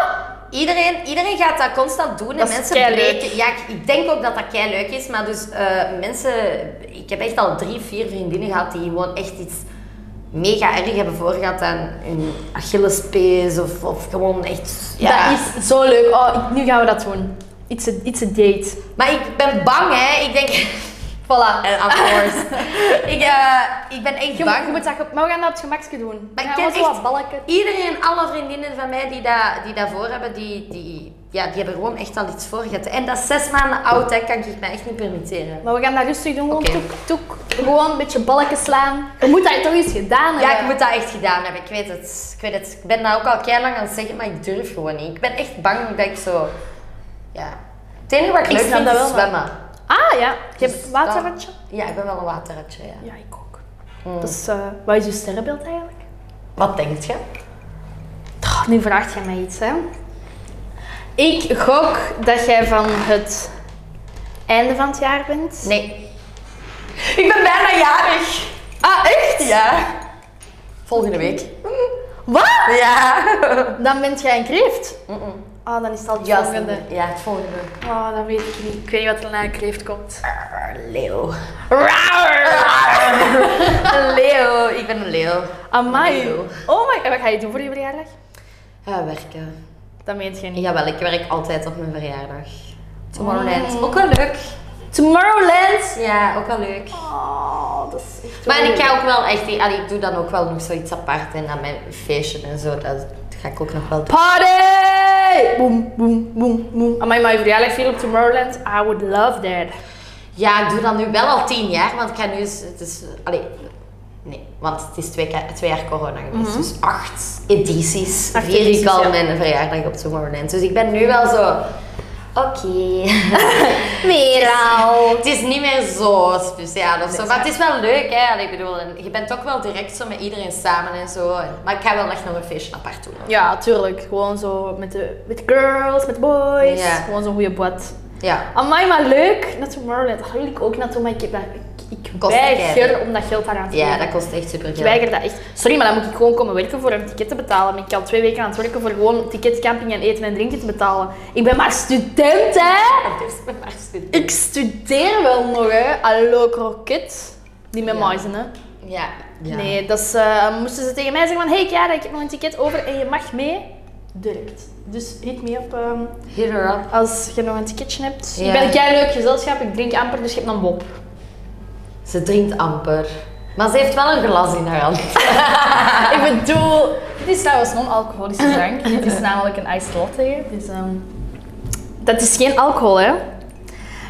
S1: Iedereen, iedereen gaat dat constant doen
S2: Dat
S1: en
S2: is
S1: mensen
S2: keileuk.
S1: breken. Ja, ik, ik denk ook dat dat kei leuk is, maar dus eh, mensen. Ik heb echt al drie, vier vriendinnen gehad die gewoon echt iets mega erg hebben voorgehad aan hun Achillespees of, of gewoon echt. Ja.
S2: Dat is zo leuk. Oh, ik- nu gaan we dat doen. It's a, it's a date.
S1: Maar ik ben bang, hè? Ik denk.
S2: Voilà.
S1: En of course. ik, eh, ik ben echt
S2: Je,
S1: bang.
S2: moet- je moet dat, ge- maar we gaan dat op het gemakje doen.
S1: Maar ik
S2: we
S1: ken
S2: gaan wel zo
S1: echt-
S2: wat balken.
S1: Iedereen, alle vriendinnen van mij die dat, die dat voor hebben, die, die, ja, die hebben gewoon echt al iets voorgehad. En dat is zes maanden oud, dat kan ik me echt niet permitteren.
S2: Maar we gaan dat rustig doen. Gewoon
S1: Oké.
S2: toek, toek. Gewoon een beetje balken slaan. Je moet dat toch eens gedaan hebben.
S1: Ja, ik moet dat echt gedaan hebben. Ik weet het. Ik weet het. Ik ben daar ook al keihard lang aan het zeggen, maar ik durf gewoon niet. Ik ben echt bang dat ik zo... Ja. Het enige wat ik,
S2: Ik
S1: leuk
S2: snap
S1: vind
S2: dat
S1: is
S2: wel, maar-
S1: zwemmen.
S2: Ah ja. Je hebt
S1: Dus
S2: waterratje?
S1: dat- Ja, ik ben wel een waterratje, ja.
S2: Ja, ik ook.
S1: Oh.
S2: Dus eh, wat is je sterrenbeeld eigenlijk?
S1: Wat denk je?
S2: Oh, nu vraagt jij mij iets, hè? Ik gok dat jij van het einde van het jaar bent.
S1: Nee.
S3: Ik ben bijna jarig.
S2: Ah, echt?
S3: Ja.
S1: Volgende week.
S2: Wat?
S1: Ja.
S2: Dan bent jij een kreeft. Ah, dan is het al het
S1: Ja,
S2: volgende.
S1: ja, het volgende.
S2: Oh, dat weet ik niet. Ik weet niet wat er na een kreeft komt.
S1: Ah, Leeuw.
S2: Een leeuw.
S1: Ik ben een leeuw.
S2: Amai.
S1: Leeuw.
S2: Oh my god. Wat ga je doen voor je verjaardag?
S1: Ja, werken.
S2: Dat meent je niet.
S1: Jawel, ik werk altijd op mijn verjaardag. Oh. Tomorrowland. Ook wel leuk.
S2: Tomorrowland.
S1: Ja, ook wel leuk.
S2: Oh, dat is echt
S1: Maar
S2: wel
S1: ik
S2: leuk.
S1: ga ook wel echt, allee, ik doe dan ook wel nog zoiets apart en dan mijn feestje en zo, dat ga ik ook nog wel doen.
S2: Party! Boom, boom, boom, boom. Amai, mijn verjaardag viel op Tomorrowland. I would love that.
S1: Ja, ik doe dat nu wel al tien jaar, want ik ga nu, eens- het is, allee, nee, want het is twee, ka- twee jaar corona geweest, dus acht edities
S2: Mhm. Acht
S1: vier ik
S2: edities,
S1: al
S2: ja.
S1: mijn verjaardag op Tomorrowland. Dus ik ben nu wel zo, oké, meer al. Het is niet meer zo speciaal of zo, maar het is wel leuk hè, Allee, ik bedoel, en je bent ook wel direct zo met iedereen samen en zo, En- maar ik ga wel echt nog een feestje apart doen. hoor.
S2: Ja, tuurlijk. Gewoon zo met de, met de girls, met de boys.
S1: Ja.
S2: Gewoon zo'n goede bad.
S1: Ja.
S2: Amai, maar leuk. Naar Tomorrowland. Dat wil ik ook naartoe, maar ik, heb dat, ik, ik
S1: Kost
S2: weiger
S1: keihard.
S2: om dat geld daaraan te
S1: Ja,
S2: geven.
S1: dat kost echt super
S2: Ik weiger dat echt. Sorry, maar dan moet ik gewoon komen werken voor een ticket te betalen. Ik kan twee weken aan het werken voor gewoon ticket, camping en eten en drinken te betalen. Ik ben maar student, hè? Ik studeer wel nog, hè? Hallo, kroket. Niet met
S1: Ja.
S2: muizen, hè?
S1: Ja. ja.
S2: Nee, dat is, eh, moesten ze tegen mij zeggen van... Hey, Chiara, ik heb nog een ticket over en je mag mee. Direct. Dus hit me op ehm,
S1: Hit her up.
S2: als je nog een ticketje hebt.
S1: Ja.
S2: Ik ben een keileuk gezelschap, ik drink amper, dus je hebt een bob.
S1: Ze drinkt amper. Maar ze heeft wel een glas in haar hand.
S2: Ik bedoel, dit is trouwens non-alcoholische drank. dit is namelijk een iced latte. Dus, ehm, dat is geen alcohol, hè?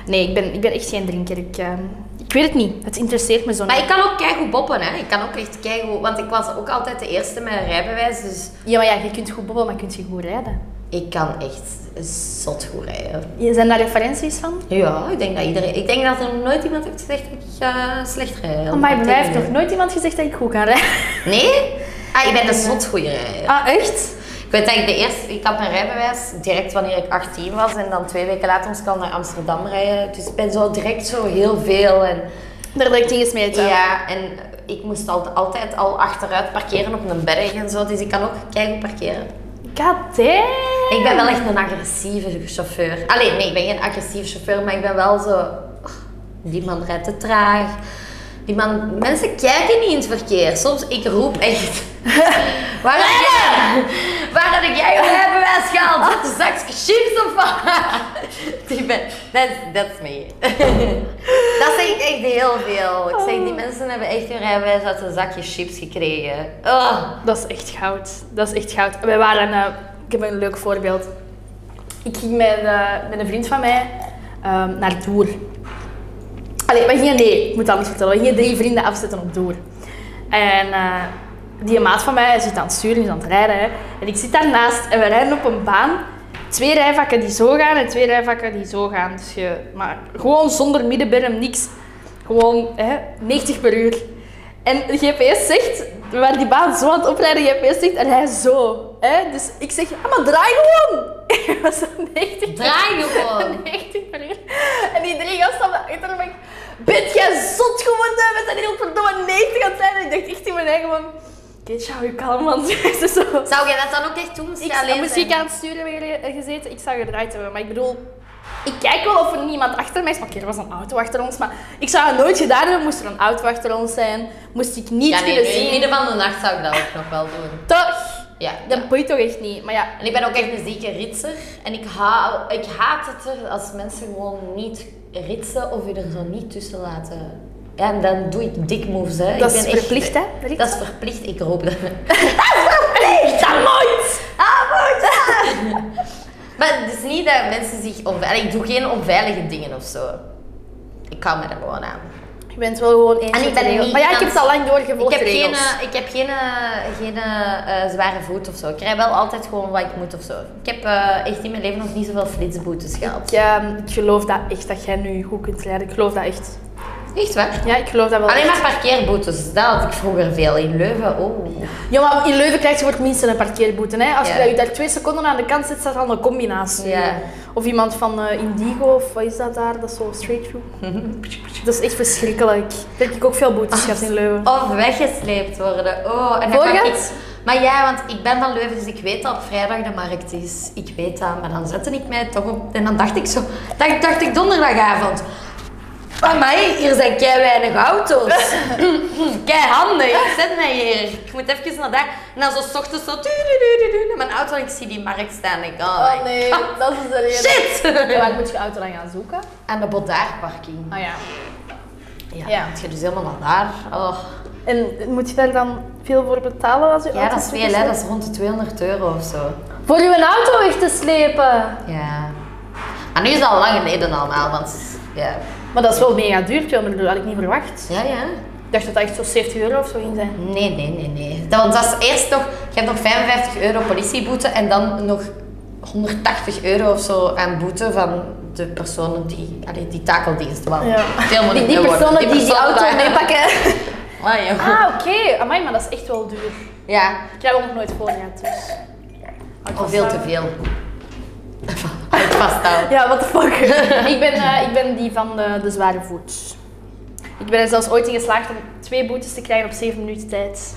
S2: Nee, ik ben, ik ben echt geen drinker. Ik, ehm, ik weet het niet. Het interesseert me zo
S1: Maar
S2: niet.
S1: ik kan ook keigoed boppen, hè. Ik kan ook echt keigoed... Want ik was ook altijd de eerste met een rijbewijs, dus...
S2: Ja, maar ja, je kunt goed bobbelen, maar kun je goed rijden.
S1: Ik kan echt zot goed rijden.
S2: Zijn daar referenties van?
S1: Ja, ik denk dat iedereen... Ik denk dat er nog nooit iemand heeft gezegd dat ik ga slecht rijden.
S2: Oh, maar bij mij heeft nog
S1: Tegendeel.
S2: nooit iemand gezegd dat ik goed kan rijden.
S1: Nee? Ah, ik ben een zot goede rijder.
S2: Ah, echt?
S1: Ik weet dat ik de eerste, ik had mijn rijbewijs direct wanneer ik 18 was en dan twee weken later moest ik al naar Amsterdam rijden. Dus ik ben zo direct zo heel veel en
S2: Daar ben ik tegen gesmeten.
S1: ja, en ik moest al, altijd al achteruit parkeren op een berg en zo, dus ik kan ook keihard parkeren.
S2: God damn.
S1: Ik ben wel echt een agressieve chauffeur. Allee, nee, ik ben geen agressief chauffeur, maar ik ben wel zo, "Oh, die man rijdt te traag. Die man, mensen kijken niet in het verkeer. Soms, ik roep echt. Waar heb jij, waar heb jij je rijbewijs gehaald? Zet een zakje chips of wat? Die ben, dat, is- dat is me. dat zeg ik echt heel veel. Ik zeg, die mensen hebben echt hun rijbewijs uit een zakje chips gekregen. Oh.
S2: Dat is echt goud. Dat is echt goud. Wij waren, eh, ik heb een leuk voorbeeld. Ik ging met, eh, met een vriend van mij ehm, naar Doer. Allee, we gingen, nee, ik moet dat niet vertellen. We gingen drie vrienden afzetten op Doer. En eh, die maat van mij zit aan het sturen, die is aan het rijden. Hè. En ik zit daarnaast en we rijden op een baan. Twee rijvakken die zo gaan en twee rijvakken die zo gaan. Dus je, maar gewoon zonder middenberm, niks. Gewoon hè, 90 per uur. En de GPS zegt, we waren die baan zo aan het oprijden, de GPS zegt, en hij zo. Hè? Dus ik zeg, ah, maar draai gewoon! Ik was aan 90
S1: Draai gewoon.
S2: 90 per uur. En die drie gasten op de achtergrond. ben ik, Ben jij zot geworden? We zijn hier op verdomme 90 aan het zijn. En ik dacht echt in mijn eigen van... Keetje, hou je kalm, man. Ze zo...
S1: Zou jij dat dan ook echt doen? Moest je
S2: Ik
S1: alleen
S2: zou
S1: zijn?
S2: muziek aan het sturen hebben gele- gezeten. Ik zou gedraaid hebben. Maar ik bedoel... Ik kijk wel of er niemand achter mij is. Maar oké, er was een auto achter ons. Maar ik zou het nooit gedaan hebben. Moest er een auto achter ons zijn. Moest ik niet
S1: Ja, nee,
S2: kunnen
S1: nee, in het
S2: zien.
S1: midden van de nacht zou ik dat ook nog wel doen.
S2: Toch?
S1: Ja.
S2: Dat boeit toch echt niet. Maar ja,
S1: En ik ben ook echt een zieke ritser. En ik, hou, ik haat het er als mensen gewoon niet ritsen of je er zo niet tussen laten. Ja, en dan doe ik dik moves, hè.
S2: Dat
S1: ik
S2: is
S1: ben echt-
S2: verplicht, hè, ritsen?
S1: Dat is verplicht. Ik roep dat.
S2: ik dat nooit!
S1: Ah, goed! maar het is niet dat mensen zich onveilig... Ik doe geen onveilige dingen of zo. Ik hou me er gewoon aan.
S2: Je bent wel gewoon één
S1: En ik
S2: soort
S1: ben
S2: regel.
S1: niet
S2: Maar ja, ik heb
S1: aan-
S2: het al lang
S1: Ik
S2: doorgevolgd,
S1: heb
S2: de
S1: geen,
S2: regels.
S1: eh, ik heb geen, eh, geen eh, eh, zware voet of zo. Ik krijg wel altijd gewoon wat ik moet of zo. Ik heb eh, echt in mijn leven nog niet zoveel flitsboetes gehad.
S2: Ik, ehm, ik geloof dat echt dat jij nu goed kunt rijden. Ik geloof dat echt.
S1: Echt waar?
S2: Ja, ik geloof dat wel.
S1: Alleen maar parkeerboetes, dat had ik vroeger veel in Leuven. Oh.
S2: Ja, maar in Leuven krijg je voor het minste een parkeerboete. Hè? Als
S1: Ja.
S2: je daar twee seconden aan de kant zit, staat al een combinatie.
S1: Ja.
S2: Of iemand van eh, Indigo, of wat is dat daar? Dat is zo straight through. Dat is echt verschrikkelijk. Daar heb ik ook veel boetes gehad in Leuven.
S1: Of weggesleept worden. Oh, en dan kan
S2: Voorgaat?
S1: ik... Maar ja, want ik ben van Leuven, dus ik weet dat op vrijdag de markt is. Ik weet dat, maar dan zette ik mij toch op... En dan dacht ik zo... Dacht, dacht ik donderdagavond... Amai, hier zijn kei weinig auto's. kei handig. Ik zet mij hier. Ik moet even naar daar. En dan zo 's ochtends zo... tududududu Naar mijn auto en ik zie die markt staan. En ik, oh, my
S3: Oh nee,
S1: God.
S3: dat is de reden.
S1: Shit!
S3: Ja, waar moet je auto dan gaan zoeken?
S1: Aan de Bodaarparking.
S3: Ah ja.
S1: Ja,
S3: Ja.
S1: dan moet je dus helemaal naar daar. Oh.
S2: En moet je daar dan veel voor betalen als je
S1: Ja,
S2: auto
S1: dat is
S2: stuk
S1: veel, hè.
S2: staat?
S1: Dat is rond de 200 euro of zo.
S3: Voor uw auto weg te slepen.
S1: Ja. Maar nu is het al lang geleden allemaal, want... Ja.
S2: Maar dat is wel mega duur, 200 euro, had ik niet verwacht.
S1: Ja, ja.
S2: Ik dacht dat dat echt zo 70 euro of zo ging zijn.
S1: Nee, nee, nee, nee. Dat, want dat is eerst nog... Je hebt nog 55 euro politieboete en dan nog 180 euro of zo aan boete van de personen die... Allee, die takeldienst wel.
S2: Ja.
S1: Veel moet
S2: Die,
S1: ik
S2: die
S1: nu worden.
S2: personen die die, auto
S1: personen daar.
S2: meepakken.
S1: Ah, ja. goed.
S2: Ah, oké. Amai, maar dat is echt wel duur.
S1: Ja.
S2: Ik heb er nog nooit voor gehad, dus... Houd
S1: Al
S2: vast
S1: veel
S2: aan.
S1: te veel. Houd vasthouden.
S2: Ja, what the fuck. ik, ben, eh, ik ben die van de, de zware voet. Ik ben er zelfs ooit in geslaagd om twee boetes te krijgen op zeven minuten tijd.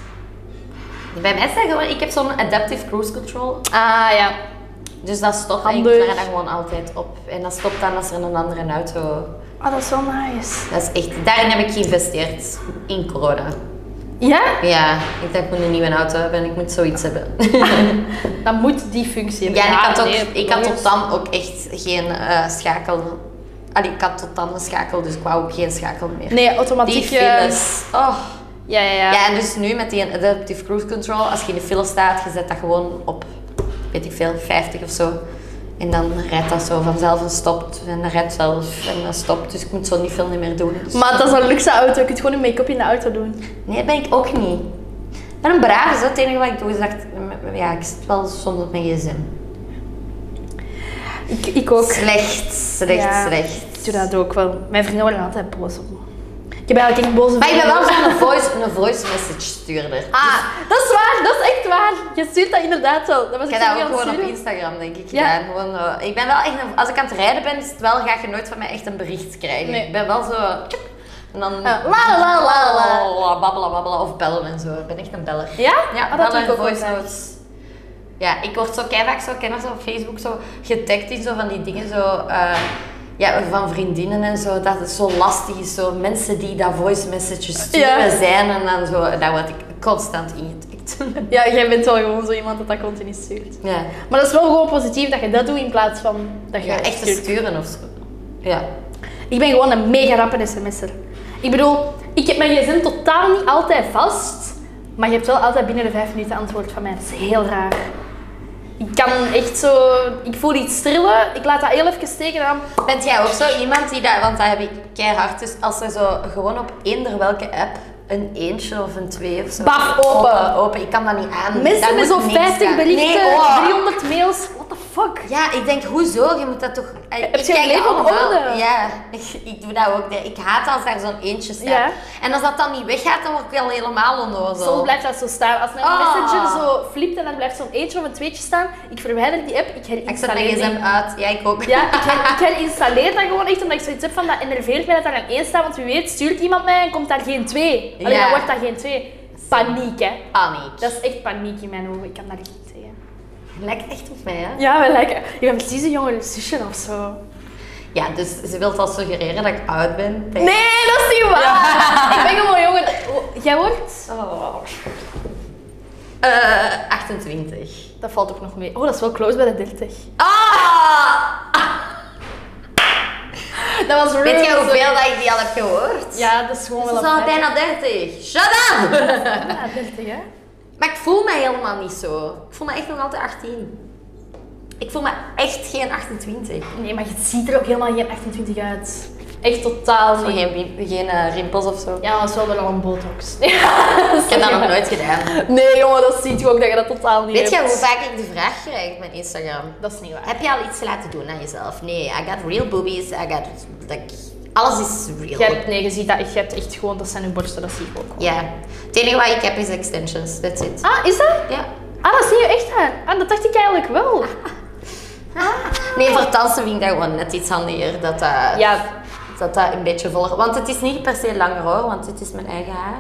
S1: Bij mij is dat gewoon... Ik heb zo'n adaptive cruise control.
S2: Ah ja.
S1: Dus dat stopt en ik
S2: Handig.
S1: sla dan gewoon altijd op. En dat stopt dan als er een andere auto...
S2: Ah, dat is wel nice.
S1: Dat is echt, daarin heb ik geïnvesteerd. In corona.
S2: Ja?
S1: Ja, ik dacht ik moet een nieuwe auto hebben en ik moet zoiets hebben.
S2: Dan moet die functie
S1: Ja, en ik had, ook,
S2: nee,
S1: ik had tot
S2: logisch.
S1: dan ook echt geen eh, schakel. Allee, ik had tot dan een schakel, dus ik wou ook geen schakel meer.
S2: Nee,
S1: Die
S2: automatiek... eh,
S1: files. Oh.
S2: ja, ja, ja.
S1: Ja, en dus nu met die adaptive cruise control, als je in de file staat, je zet dat gewoon op, weet ik veel, 50 of zo. En dan rijdt dat zo vanzelf en stopt. En dan rijdt zelf en dan stopt. Dus ik moet zo niet veel meer doen. Dus-
S2: Maar dat is een luxe auto. Je kunt gewoon een make-up in de auto doen.
S1: Nee, dat ben ik ook niet. Ik ben een brave, zo. Het enige wat ik doe is dat ik, ja, ik zit wel soms op mijn gsm.
S2: Ik, ik ook.
S1: Slecht, slecht,
S2: Ja.
S1: slecht.
S2: Ik doe dat ook wel. Mijn vrienden worden altijd boos op me. Ik heb eigenlijk echt boze
S1: Maar ik ben wel
S2: vrienden.
S1: zo'n voice, een voice message stuurder. Dus
S2: Ah, dat is waar. Dat is echt waar. Je stuurt dat inderdaad wel. Dat was
S1: Ik
S2: ik
S1: heb
S2: zo
S1: dat
S2: niet
S1: ook
S2: aan het
S1: gewoon op
S2: sturen.
S1: Instagram, denk ik.
S2: Ja.
S1: Ja. Gewoon, eh, ik ben wel echt een- als ik aan het rijden ben, is het wel, ga je nooit van mij echt een bericht krijgen.
S2: Nee.
S1: Ik ben wel zo... tjoep, En dan
S2: Ja, la, la, la, la.
S1: babbelen, babbelen of bellen en zo. Ik ben echt een beller.
S2: Ja?
S1: Ja,
S2: Ah, dat doe
S1: bellen,
S2: ik ook
S1: voice
S2: wel graag.
S1: notes. Ja, ik word zo vaak zo kenners op Facebook zo getagd in zo van die dingen zo... eh, ja, van vriendinnen en zo, dat het zo lastig is. Zo mensen die dat voice messages sturen
S2: Ja.
S1: zijn en dan zo, daar word ik constant ingetikt.
S2: Ja, jij bent wel gewoon zo iemand dat dat continu stuurt.
S1: ja.
S2: Maar dat is wel gewoon positief dat je dat doet in plaats van dat je
S1: ja, echt te
S2: stuurt.
S1: sturen of zo. Ja.
S2: Ik ben gewoon een mega rappe sms'er. Ik bedoel, ik heb mijn gsm totaal niet altijd vast, maar je hebt wel altijd binnen de vijf minuten antwoord van mij. Dat is heel raar. Ik kan echt zo... Ik voel iets trillen, ik laat dat heel even steken dan...
S1: Bent jij ook zo iemand die dat, want dat heb ik keihard, dus als er zo gewoon op eender welke app een eentje of een twee of zo.
S2: Baf, open.
S1: Open, open. Ik kan dat niet aan. Daar
S2: Mensen met
S1: moet
S2: zo'n
S1: niks
S2: 50
S1: aan.
S2: berichten,
S1: Nee, oh.
S2: 300 mails, what the fuck?
S1: Ja, ik denk, hoezo? Je moet dat toch... eh,
S2: Heb
S1: ik
S2: je je
S1: kijk
S2: leven op
S1: allemaal-
S2: orde?
S1: Ja, ik, ik doe dat ook. nee. Ik haat als daar zo'n eentje staat.
S2: Ja.
S1: En als dat dan niet weggaat, dan word ik wel helemaal onnozel.
S2: Soms blijft dat zo staan. Als een
S1: Ah.
S2: messenger zo flipt en dan blijft zo'n eentje of een tweetje staan, ik verwijder die app, ik
S1: Ik zet mijn
S2: herinstalleer die.
S1: gsm uit. Ja, ik ook.
S2: Ja, ik, her, ik herinstalleer dat gewoon echt omdat ik zoiets heb van dat enerveert mij dat daar een één staat, want wie weet stuurt iemand mij en komt daar geen twee. Alleen
S1: Ja.
S2: dan wordt dat geen twee. Paniek hè.
S1: Paniek.
S2: Dat is echt paniek in mijn ogen, ik kan daar echt niet tegen.
S1: lijkt echt op mij, hè?
S2: Ja, wel lekker. Ik ben precies een jongere zusje of zo.
S1: Ja, dus ze wil al suggereren dat ik oud ben. Denk-
S2: Nee, dat is niet waar! Ik ben gewoon jonger. Oh, Jij wordt?
S1: Oh. Eh, 28.
S2: Dat valt ook nog mee. Oh, dat is wel close bij de 30.
S1: Ah!
S2: Dat was
S1: Weet
S2: really
S1: je
S2: sorry.
S1: hoeveel dat ik die al heb gehoord?
S2: Ja, dat is gewoon
S1: Ze
S2: wel
S1: is
S2: een
S1: al
S2: feit.
S1: bijna 30. Shut up!
S2: Ja, 30 hè?
S1: Maar ik voel mij helemaal niet zo. Ik voel me echt nog altijd 18. Ik voel me echt geen 28.
S2: Nee, maar je ziet er ook helemaal geen 28 uit. Echt totaal
S1: Zo
S2: niet.
S1: geen, wim- geen eh, rimpels of zo.
S2: Ja, dat is wel wel een botox.
S1: ik heb dat nog nooit gedaan.
S2: Nee, jongen, dat ziet je ook dat je dat totaal niet
S1: Weet je
S2: hebt.
S1: hoe vaak ik de vraag krijg op mijn Instagram?
S2: Dat is niet waar.
S1: Heb je al iets laten doen aan jezelf? Nee, I got real boobies. I got like Alles is real.
S2: Jij
S1: Ja.
S2: hebt, nee, je ziet dat echt. Jij hebt echt gewoon, dat zijn uw borsten, dat zie ik ook.
S1: Het enige wat ik heb is extensions. That's it. Ja.
S2: Ah, is dat? Ah, dat is niet je echt haar. Ah, dat dacht ik eigenlijk wel.
S1: Nee, voor dansen vind ik dat gewoon net iets handiger. Dat dat,
S2: Ja.
S1: dat, dat een beetje voller... Want het is niet per se langer hoor, want dit is mijn eigen haar.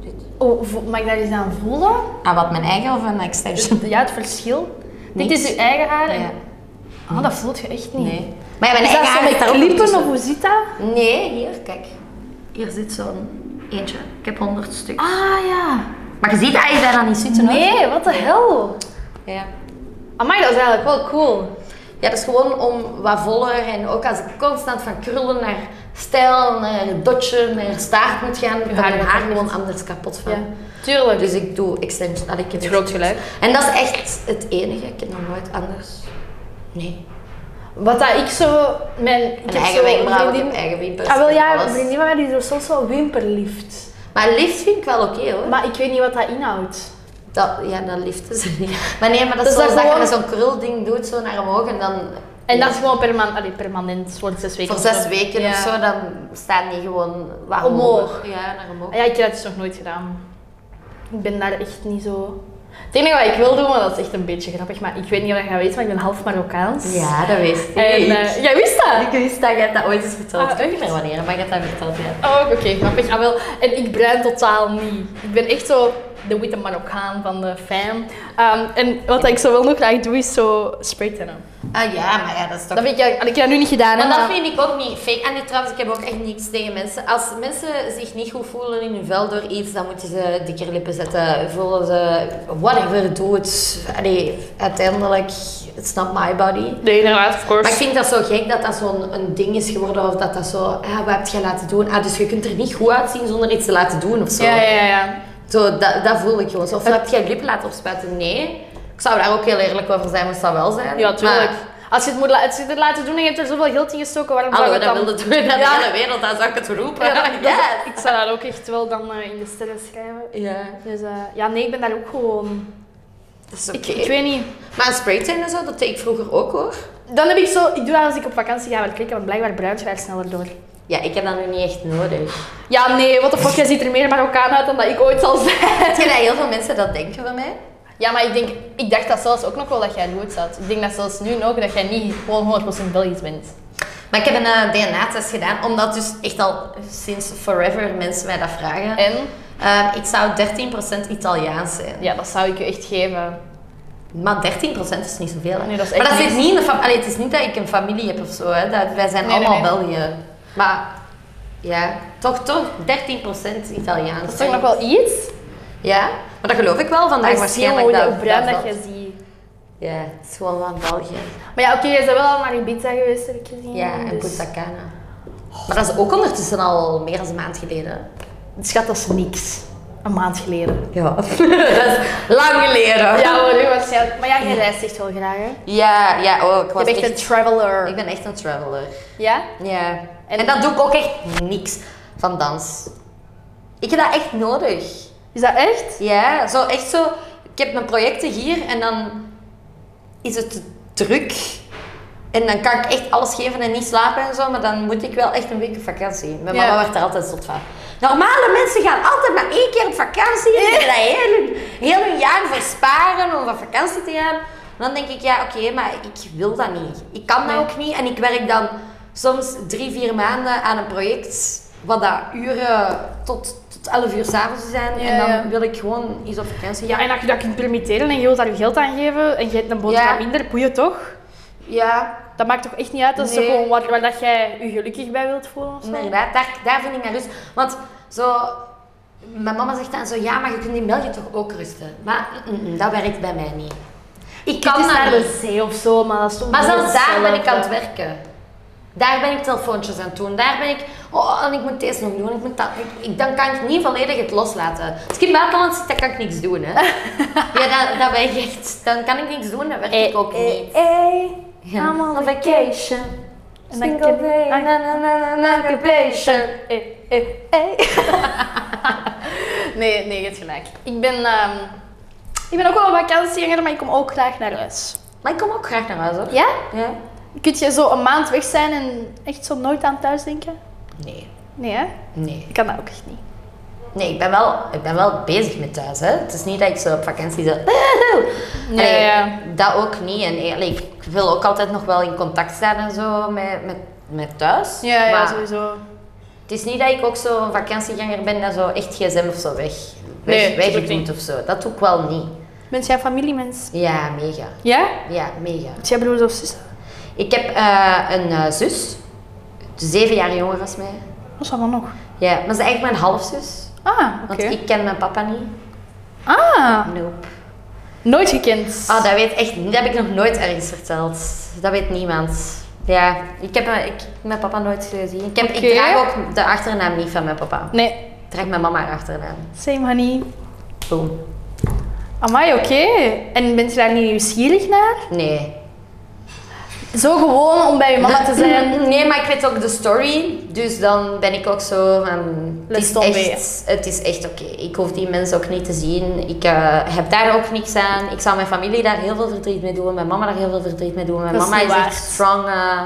S1: Dit.
S2: Oh, vo- mag ik dat eens aan voelen?
S1: Ah, wat, mijn eigen of een extension?
S2: Ja, het verschil. Dit
S1: Niks.
S2: is uw eigen haar. en-
S1: Ja.
S2: Oh, dat voelt je echt niet.
S1: Nee. Maar ja, mijn
S2: Is
S1: eigen
S2: dat zo
S1: haar
S2: met
S1: zit daar ook
S2: klippen
S1: tussen.
S2: of hoe zit dat?
S1: Nee, hier, kijk. Hier zit zo'n eentje. Ik heb honderd stuk.
S2: Ah ja.
S1: Maar je ziet eigenlijk bijna niet zitten hoor.
S2: Nee, wat de hel.
S1: Ja.
S2: Amai, dat is eigenlijk wel cool.
S1: ja, dat is gewoon om wat voller en ook als ik constant van krullen naar stijl, naar dotje, naar staart moet gaan, dan
S2: haar
S1: mijn
S2: wordt
S1: haar
S2: anders.
S1: gewoon anders kapot van.
S2: Ja. Tuurlijk.
S1: Dus ik doe extensions. Allee, ik heb
S2: Groot gelijk.
S1: En dat is echt het enige. Ik heb nog nooit anders. Nee.
S2: Wat dat ik zo... Mijn, ik
S1: Mijn
S2: heb
S1: eigen
S2: zo een
S1: wenkbrauwen, ik heb
S2: vriendin-
S1: eigen wimpers.
S2: Ah wel ja, een
S1: alles.
S2: vriendin van mij die doet soms wel wimperlift.
S1: Maar lift vind ik wel oké hoor.
S2: Maar ik weet niet wat dat inhoudt.
S1: Dat, ja, dat liften ze niet. Maar nee, maar dat is
S2: Dus dat
S1: zoals dat,
S2: gewoon-
S1: je met zo'n krulding doet, zo naar omhoog en dan...
S2: En dat is gewoon permanent, allee, permanent, voor zes weken.
S1: Voor
S2: of
S1: zes
S2: zo.
S1: weken
S2: Ja.
S1: of zo, dan staan die gewoon wat
S2: Omhoog.
S1: Ja, naar omhoog.
S2: Ja, ik heb dat dus nog nooit gedaan. Ik ben daar echt niet zo... Het enige wat ik wil doen, maar dat is echt een beetje grappig, maar ik weet niet of je dat weet, maar ik ben half Marokkaans.
S1: Ja, dat wist ik.
S2: En, eh, jij wist dat?
S1: ik wist dat jij dat ooit eens verteld.
S2: Ah,
S1: ik weet niet
S2: echt?
S1: meer wanneer, maar je hebt dat verteld, ja.
S2: Oh, oké, grappig. Ah, wel. En ik bruin totaal niet. Ik ben echt zo de witte Marokkaan van de fam. Ehm, en wat ik zo wel nog graag doe, is zo spraytennen.
S1: Ah ja, maar ja, dat is toch...
S2: Dat vind ik, had ik dat nu niet gedaan. hè,
S1: maar dat
S2: maar-
S1: vind ik ook niet fake. En nee, trouwens, ik heb ook echt niks tegen mensen. Als mensen zich niet goed voelen in hun vel door iets, dan moeten ze dikker lippen zetten. Voelen ze whatever, doe het. Allee, uiteindelijk, it's not my body.
S2: Nee, inderdaad, of
S1: Maar ik
S2: course.
S1: vind dat zo gek dat dat zo'n een ding is geworden of dat dat zo, ah, wat heb je laten doen? Ah, dus je kunt er niet goed uitzien zonder iets te laten doen of zo.
S2: Ja, ja, ja.
S1: Zo, dat, dat voel ik gewoon. Zo, Of heb je lippen laten opspuiten? Nee. Ik zou daar ook heel eerlijk over zijn, moest dat wel zijn.
S2: Ja, tuurlijk.
S1: Maar,
S2: Als je het moet la- als je het laten doen en je hebt er zoveel geld in gestoken, waarom zou
S1: hallo,
S2: je
S1: Ah, dat
S2: het dan...
S1: wilde doen in de
S2: Ja.
S1: hele wereld, dan zou ik het roepen.
S2: Ja, dat- dat-
S1: Yes.
S2: Ik zou dat ook echt wel dan eh, in de sterren schrijven.
S1: Ja,
S2: Dus eh, ja, nee, ik ben daar ook gewoon...
S1: dat is oké.
S2: Ik, ik weet niet.
S1: Maar een spraytan en zo, dat deed ik vroeger ook hoor.
S2: Dan heb ik zo... Ik doe dat als ik op vakantie ga werken, want blijkbaar bruin je haar sneller door.
S1: Ja, ik heb dat nu niet echt nodig.
S2: Ja, nee, wat de fuck, jij ziet er meer Marokkaan uit dan dat ik ooit zal zijn.
S1: Weet je dat heel veel mensen dat denken van mij?
S2: Ja, maar ik denk, ik dacht dat zelfs ook nog wel dat jij goed zat. Ik denk dat zelfs nu ook dat jij niet gewoon 100% Belgisch bent.
S1: Maar ik heb een eh, DNA-test gedaan, omdat dus echt al sinds forever mensen mij dat vragen.
S2: En?
S1: Ehm, ik zou 13% Italiaans zijn.
S2: Ja, dat zou ik je echt geven.
S1: Maar 13% is niet zoveel. hè.
S2: Nee, dat is echt
S1: maar dat
S2: niks.
S1: zit niet in de fam- Allee, het is niet dat ik een familie heb of zo. Hè. Dat, wij zijn
S2: Nee, nee,
S1: allemaal
S2: nee.
S1: België. Maar ja, toch, toch 13% Italiaans.
S2: Dat is toch nog wel iets?
S1: Ja, maar dat geloof ik wel
S2: Maar
S1: vandaag
S2: ik zie
S1: waarschijnlijk.
S2: hoe
S1: dat-
S2: hoe bruin dat,
S1: dat
S2: je
S1: valt.
S2: ziet.
S1: Ja, het is gewoon van België.
S2: Maar ja, oké, jij bent wel al naar Ibiza geweest, heb ik gezien.
S1: Ja, en
S2: dus...
S1: Punta Cana. Maar dat is ook ondertussen al meer dan een maand geleden.
S2: Schat, dat is niks. Een maand geleden.
S1: Ja, dat is lang geleden.
S2: Ja hoor, nu waarschijnlijk. Maar ja, jij reist echt wel graag, hè?
S1: Ja, ja, oh, ik
S2: Je
S1: was
S2: bent echt een traveler.
S1: Ik ben echt een traveler.
S2: Ja?
S1: Ja. En, dat doe ik ook echt niks van dans. Ik heb dat echt nodig.
S2: Is dat echt?
S1: Ja, zo echt zo. Ik heb mijn projecten hier en dan is het te druk. En dan kan ik echt alles geven en niet slapen en zo, maar dan moet ik wel echt een week op vakantie. Mijn
S2: Ja.
S1: mama werd er altijd zot van. Normale mensen gaan altijd maar één keer op vakantie en willen dat heel hun, heel hun jaar versparen om op vakantie te gaan. En dan denk ik, ja oké, maar ik wil dat niet. Ik kan dat
S2: Nee.
S1: ook niet en ik werk dan soms drie, vier maanden aan een project wat dat uren tot, tot 11 uur s'avonds zijn.
S2: Ja,
S1: en dan
S2: ja.
S1: wil ik gewoon eens op vakantie
S2: Ja,
S1: gaan.
S2: en als je dat kunt permitteren en je wilt daar je geld aan geven en je hebt een boterham
S1: Ja.
S2: minder, boeien toch?
S1: Ja,
S2: Dat maakt toch echt niet uit, dat is
S1: Nee.
S2: toch gewoon waar, waar dat jij je gelukkig bij wilt voelen of zo?
S1: inderdaad. Daar, daar vind ik mijn rust. Want zo... Mijn mama zegt dan zo, ja, maar je kunt in België toch ook rusten. Maar mm, mm, dat werkt bij mij niet. Ik
S2: Het
S1: kan
S2: is naar
S1: dat
S2: de
S1: niet.
S2: zee of zo, maar dat is toch
S1: Maar
S2: niet
S1: zelfs daar ben ik aan het
S2: hetzelfde.
S1: werken. Daar ben ik telefoontjes aan het doen. Daar ben ik... Oh, en ik moet deze nog doen. Ik moet dat... Ik, ik- dan kan ik niet volledig het loslaten. Als ik in het buitenland zit, dan kan ik niks doen, hè. ja, dat, dat ben ik echt... Dan kan ik niks doen, dan werk ik ook niet.
S2: Hey,
S1: Ja.
S2: I'm on a vacation. Single day, na na na na vacation. Hey, hey, hey. eh. nee, nee, je hebt gelijk. Ik ben, ehm, ik ben ook wel een vakantieganger, maar ik kom ook graag naar huis.
S1: Maar ik kom ook graag naar huis, hoor.
S2: Ja?
S1: Ja.
S2: Kun je zo een maand weg zijn en echt zo nooit aan thuis denken?
S1: Nee,
S2: Nee, hè?
S1: nee.
S2: Ik kan dat ook echt niet.
S1: Nee, ik ben wel, ik ben wel bezig met thuis. Hè. Het is niet dat ik zo op vakantie zo...
S2: Nee,
S1: Allee,
S2: ja.
S1: Dat ook niet. En eigenlijk, ik wil ook altijd nog wel in contact staan en zo met, met, met thuis.
S2: Ja, ja,
S1: Maar
S2: sowieso.
S1: Het is niet dat ik ook zo een vakantieganger ben dat zo echt gsm of zo weg, weg,
S2: Nee, tuurlijk
S1: wegdoet of zo. Dat doe ik wel niet.
S2: Bent jij familiemens?
S1: Ja, mega.
S2: Ja?
S1: Ja, mega.
S2: Heb jij broers of zussen?
S1: Ik heb eh, een eh, zus, zeven jaar jonger als mij.
S2: Wat is dat dan Oh, nog?
S1: Ja, maar ze is eigenlijk mijn halfzus.
S2: Ah, oké.
S1: Want ik ken mijn papa niet.
S2: Ah,
S1: Nope.
S2: nooit gekend.
S1: Ah, dat weet echt, dat heb ik nog nooit ergens verteld. Dat weet niemand. Ja, ik heb mijn, ik, mijn papa nooit gezien. Ik, heb,
S2: Oké.
S1: ik draag ook de achternaam niet van mijn papa.
S2: Nee,
S1: Ik draag mijn mama haar achternaam.
S2: same honey.
S1: Boom.
S2: Amai, oké. En bent je daar niet nieuwsgierig naar?
S1: Nee.
S2: Zo gewoon om bij je mama te zijn.
S1: Nee, maar ik weet ook de story. Dus dan ben ik ook zo van... Het
S2: Let's
S1: is
S2: don't
S1: echt, het is echt oké. Ik hoef die mensen ook niet te zien. Ik eh, heb daar ook niks aan. Ik zou mijn familie daar heel veel verdriet mee doen. Mijn mama daar heel veel verdriet mee doen. Mijn
S2: Dat is
S1: mama
S2: niet
S1: is
S2: waar.
S1: echt strong, eh,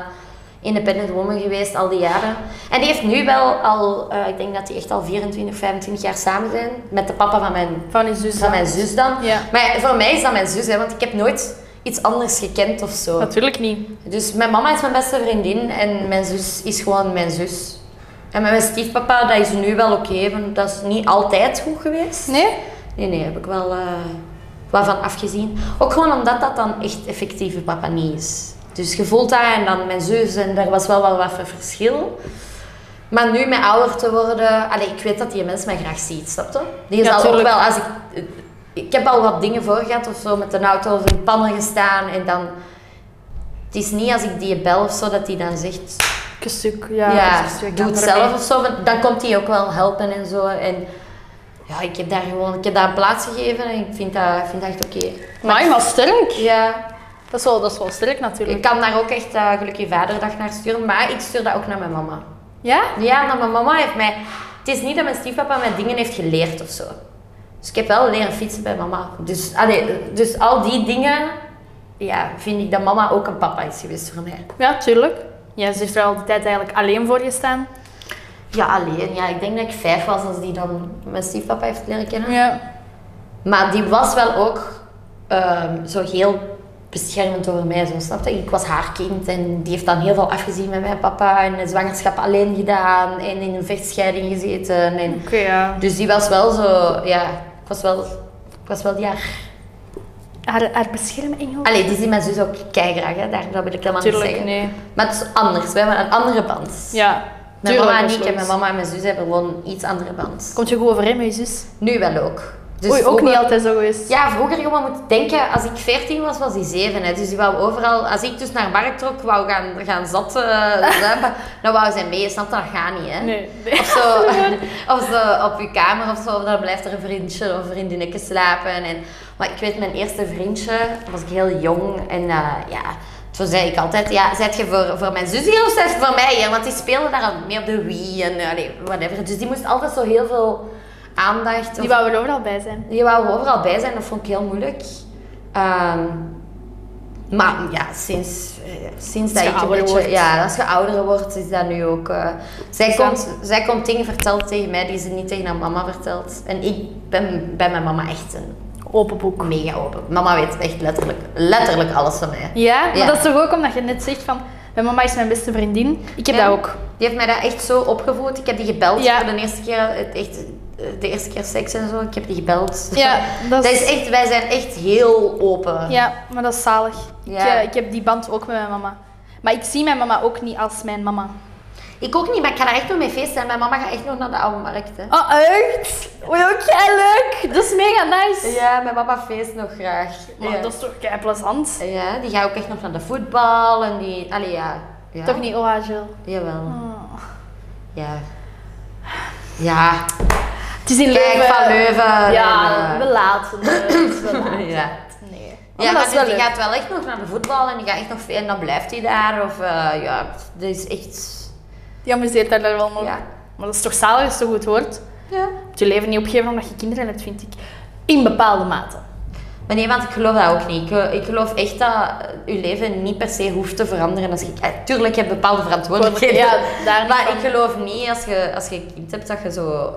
S1: independent woman geweest al die jaren. En die heeft nu wel al... eh, ik denk dat die echt al 24, 25 jaar samen zijn. Met de papa van mijn
S2: Van je zus.
S1: van mijn zus dan.
S2: Ja.
S1: Maar voor mij is dat mijn zus, hè, want ik heb nooit iets anders gekend of zo.
S2: Natuurlijk niet.
S1: Dus mijn mama is mijn beste vriendin en mijn zus is gewoon mijn zus. En met mijn stiefpapa, dat is nu wel oké, want dat is niet altijd goed geweest.
S2: Nee?
S1: Nee, nee, heb ik wel eh, wat van afgezien. Ook gewoon omdat dat dan echt effectieve papa niet is. Dus je voelt dat en dan mijn zus en daar was wel wel wat voor verschil. Maar nu met ouder te worden, allee, ik weet dat die mens mij graag ziet, snap je? Die
S2: Ja,
S1: zal ook
S2: tuurlijk.
S1: wel, als ik, ik heb al wat dingen voor gehad of zo, met een auto of in pannen gestaan en dan... Het is niet als ik die bel of zo, dat die dan zegt,
S2: Een stuk, ja.
S1: ja,
S2: een stuk,
S1: doe het
S2: andere
S1: zelf
S2: mee.
S1: of zo. want Dan komt hij ook wel helpen en zo. En ja, ik heb daar gewoon, ik heb daar een plaats gegeven en ik vind dat, ik vind dat echt oké.
S2: Amai, maar sterk.
S1: Ja,
S2: Dat is wel, dat is wel sterk
S1: ik
S2: natuurlijk.
S1: kan daar ook echt eh, gelukkig vaderdag naar sturen, maar ik stuur dat ook naar mijn mama.
S2: Ja?
S1: Ja, maar mijn mama heeft mij, het is niet dat mijn stiefpapa mij dingen heeft geleerd of zo. Dus ik heb wel leren fietsen bij mama. Dus, allee, dus al die dingen, ja, vind ik dat mama ook een papa is geweest voor mij.
S2: Ja, tuurlijk. Ja, ze heeft er al de tijd eigenlijk alleen voor gestaan.
S1: Ja, alleen. Ja, ik denk dat ik vijf was als die dan mijn stiefpapa heeft leren kennen.
S2: Ja.
S1: Maar die was wel ook ehm, zo heel beschermend over mij, zo snap je? Ik was haar kind en die heeft dan heel veel afgezien met mijn papa en een zwangerschap alleen gedaan en in een vechtscheiding gezeten. En...
S2: Oké, ja.
S1: Dus die was wel zo, ja, ik was wel, ik was wel die haar.
S2: Haar, haar beschermengel?
S1: Allee, die zien mijn zus ook keigraag, hè? Daar, dat wil ik helemaal
S2: Tuurlijk,
S1: niet zeggen.
S2: nee.
S1: Maar het is anders, we hebben een andere band.
S2: Ja.
S1: Mijn
S2: tuurlijk,
S1: mama en ik
S2: absoluut.
S1: en mijn mama en mijn zus hebben gewoon een iets andere band.
S2: Komt je goed overeen met je zus?
S1: Nu wel ook. Dus
S2: Oei, ook
S1: vroeger-
S2: niet altijd zo geweest.
S1: Ja, vroeger gewoon moet denken, als ik 14 was, was hij 7. Hè. Dus die wou overal, als ik dus naar Mark trok, wou gaan, gaan zatten, dan wou zij mee. Snap je? dat gaat niet, hè?
S2: Nee.
S1: Of zo, of zo op je kamer of zo, of dan blijft er een vriendje of vriendinnetje slapen. En, maar ik weet, mijn eerste vriendje, was ik heel jong en eh, ja, toen zei ik altijd, ja, zet je voor, voor mijn zus hier of zet je voor mij hier? Want die speelde daar al mee op de Wii en eh, allee, whatever. Dus die moest altijd zo heel veel aandacht.
S2: Die
S1: of-
S2: wou er overal bij zijn.
S1: je wou er overal bij zijn, dat vond ik heel moeilijk. Ehm, maar ja, sinds, eh, sinds dat
S2: je
S1: ik een
S2: ouder
S1: beetje...
S2: wordt.
S1: Ja, als je ouder wordt, is dat nu ook... eh, zij,
S2: Zo.
S1: komt, zij komt dingen vertellen tegen mij die ze niet tegen haar mama vertelt. En ik ben bij mijn mama echt een
S2: Open boek.
S1: mega open. Mama weet echt letterlijk, letterlijk alles van mij.
S2: Ja? Maar
S1: Ja.
S2: dat is toch ook omdat je net zegt van... Mijn mama is mijn beste vriendin. Ik heb
S1: Ja.
S2: dat ook.
S1: Die heeft mij dat echt zo opgevoed. Ik heb die gebeld
S2: Ja.
S1: voor de eerste keer, het echt, eh, de eerste keer seks en zo. Ik heb die gebeld.
S2: Ja, dat
S1: dat
S2: is-
S1: is echt, wij zijn echt heel open.
S2: Ja, maar dat is zalig.
S1: Ja.
S2: Ik, eh, ik heb die band ook met mijn mama. Maar ik zie mijn mama ook niet als mijn mama.
S1: Ik ook niet, maar ik ga daar echt nog mee feesten. Mijn mama gaat echt nog naar de oude markt. Hè.
S2: Oh, echt? Oei, ook jij leuk. Dat is mega nice.
S1: Ja, mijn mama feest nog graag.
S2: Maar
S1: Ja.
S2: dat is toch kei plezant?
S1: Ja, die gaat ook echt nog naar de voetbal en die... Allee, ja. ja.
S2: Toch niet oagel.
S1: Jawel.
S2: Oh.
S1: Ja. Ja.
S2: Het is in
S1: Kijk,
S2: Leuven.
S1: van Leuven.
S2: Ja,
S1: en,
S2: we
S1: eh,
S2: laten het. We laten
S1: Ja.
S2: het. Nee.
S1: Ja,
S2: Oh, Maar
S1: maar
S2: dat is wel
S1: dus die
S2: leuk.
S1: gaat wel echt nog naar de voetbal en die gaat echt nog... En dan blijft hij daar of... eh, ja, dat is echt...
S2: Die amuseert daar wel nog.
S1: Ja.
S2: Maar dat is toch zalig als het zo goed hoort?
S1: Ja.
S2: Je moet je leven niet opgeven omdat je kinderen hebt, vind ik. In bepaalde mate.
S1: Maar nee, want ik geloof dat ook niet. Ik, ik geloof echt dat je leven niet per se hoeft te veranderen. Als je, eh, tuurlijk heb je bepaalde verantwoordelijkheden.
S2: Ja, daar
S1: maar
S2: van-
S1: ik geloof niet als je, als je kind hebt dat je zo.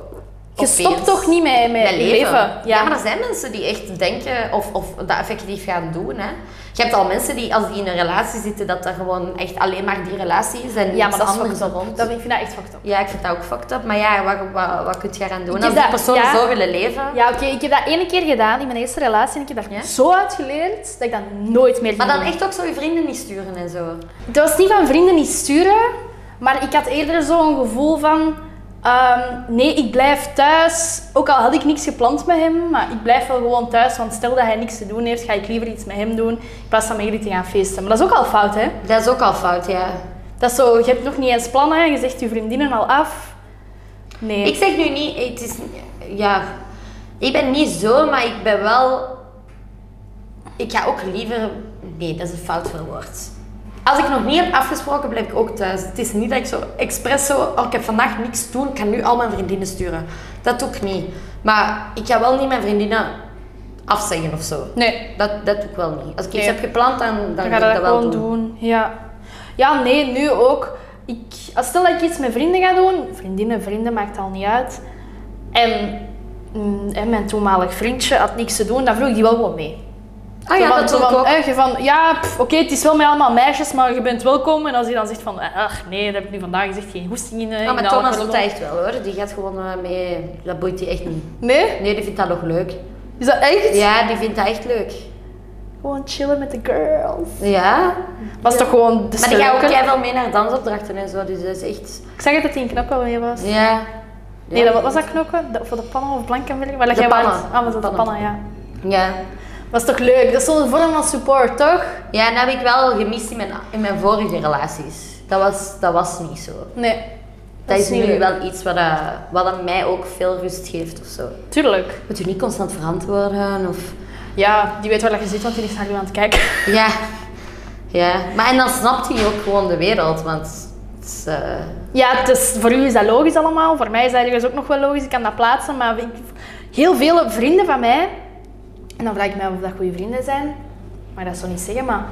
S2: Je stopt
S1: opeens
S2: toch niet met, met,
S1: met
S2: leven?
S1: Ja.
S2: Ja.
S1: maar er zijn mensen die echt denken of, of dat effectief gaan doen. Hè. Je hebt al mensen die, als die in een relatie zitten, dat er gewoon echt alleen maar die relatie is en
S2: ja,
S1: niks
S2: maar dat is
S1: anders
S2: fucked up.
S1: rond.
S2: Dat vind, ik vind dat echt fucked up.
S1: Ja, ik vind dat ook fucked up. Maar ja, wat, wat, wat kun je eraan doen
S2: Ik
S1: als
S2: heb
S1: die
S2: dat-
S1: personen
S2: ja.
S1: zo willen leven?
S2: Ja, oké, ik heb dat ene keer gedaan in mijn eerste relatie en ik heb daar
S1: Ja?
S2: zo uit geleerd dat ik dat nooit meer
S1: Maar
S2: ging
S1: dan
S2: doen.
S1: echt ook zo je vrienden niet sturen en zo.
S2: Het was niet van vrienden niet sturen, maar ik had eerder zo'n gevoel van... ehm, nee, ik blijf thuis. Ook al had ik niks gepland met hem, maar ik blijf wel gewoon thuis. Want stel dat hij niks te doen heeft, ga ik liever iets met hem doen. In plaats van met jullie te gaan feesten. Maar dat is ook al fout, hè?
S1: Dat is ook al fout, ja.
S2: Dat is zo, je hebt nog niet eens plannen, je zegt je vriendinnen al af. Nee.
S1: Ik zeg nu niet, het is, ja, ik ben niet zo, maar ik ben wel, ik ga ook liever, nee, dat is een fout verwoord. Als ik nog niet heb afgesproken, blijf ik ook thuis. Het is niet dat ik zo expres zo, oh, ik heb vandaag niks te doen, ik kan nu al mijn vriendinnen sturen. Dat doe ik niet. Maar ik ga wel niet mijn vriendinnen afzeggen of zo.
S2: Nee,
S1: Dat, dat doe ik wel niet. Als ik iets
S2: Nee.
S1: heb gepland, dan, dan,
S2: dan
S1: ga
S2: ga
S1: ik
S2: je
S1: dat,
S2: dat
S1: wel
S2: gewoon
S1: doen.
S2: doen. Ja. ja, nee, nu ook. Ik, als stel dat ik iets met vrienden ga doen, vriendinnen, vrienden, maakt al niet uit. En, mm, en mijn toenmalig vriendje had niks te doen, dan vroeg ik die wel gewoon mee.
S1: Ah
S2: Zo
S1: ja,
S2: van-
S1: dat
S2: zo
S1: doe ik
S2: van,
S1: ook.
S2: eh, je van, ja, pff, oké, het is wel met allemaal meisjes, maar je bent welkom. En als hij dan zegt van, eh, ach nee, dat heb ik nu vandaag gezegd, geen hoesting in. eh,
S1: Ah,
S2: in
S1: maar
S2: de
S1: Thomas
S2: alcohol.
S1: doet dat echt wel hoor. Die gaat gewoon eh, mee. Dat boeit die echt niet.
S2: Nee?
S1: Nee, die vindt dat nog leuk.
S2: Is dat echt?
S1: Ja, die vindt dat echt leuk.
S2: Gewoon chillen met de girls.
S1: Ja.
S2: Was toch gewoon de
S1: Maar die gaat ook
S2: seuken?
S1: jij wel mee naar dansopdrachten en zo. Dus dat is echt.
S2: Ik zag het dat die in knokken mee was.
S1: Ja.
S2: Nee,
S1: Ja.
S2: dat, was dat knokken? De, voor de pannen of blankenberg? Waar dat
S1: De
S2: jij
S1: pannen.
S2: waart? Ah, was dat de
S1: Pannen.
S2: pannen, ja.
S1: Ja.
S2: Was toch leuk? Dat is zo'n vorm van support, toch?
S1: Ja, en dat heb ik wel gemist in mijn, in mijn vorige relaties. Dat was, dat was niet zo. Dat,
S2: Nee.
S1: is nu
S2: leuk.
S1: wel iets wat, eh, wat aan mij ook veel rust geeft of zo.
S2: Tuurlijk.
S1: Moet je niet constant verantwoorden of.
S2: Ja, die weet waar dat je zit, want die is naar u aan het kijken.
S1: Ja. Ja. Maar en dan snapt hij ook gewoon de wereld, want. Het is, eh,
S2: Ja, het is, voor u is dat logisch allemaal. Voor mij is dat ergens ook nog wel logisch. Ik kan dat plaatsen. Maar ik- heel veel vrienden van mij... En dan vraag ik mij af of dat goede vrienden zijn. Maar dat zou niet zeggen, maar...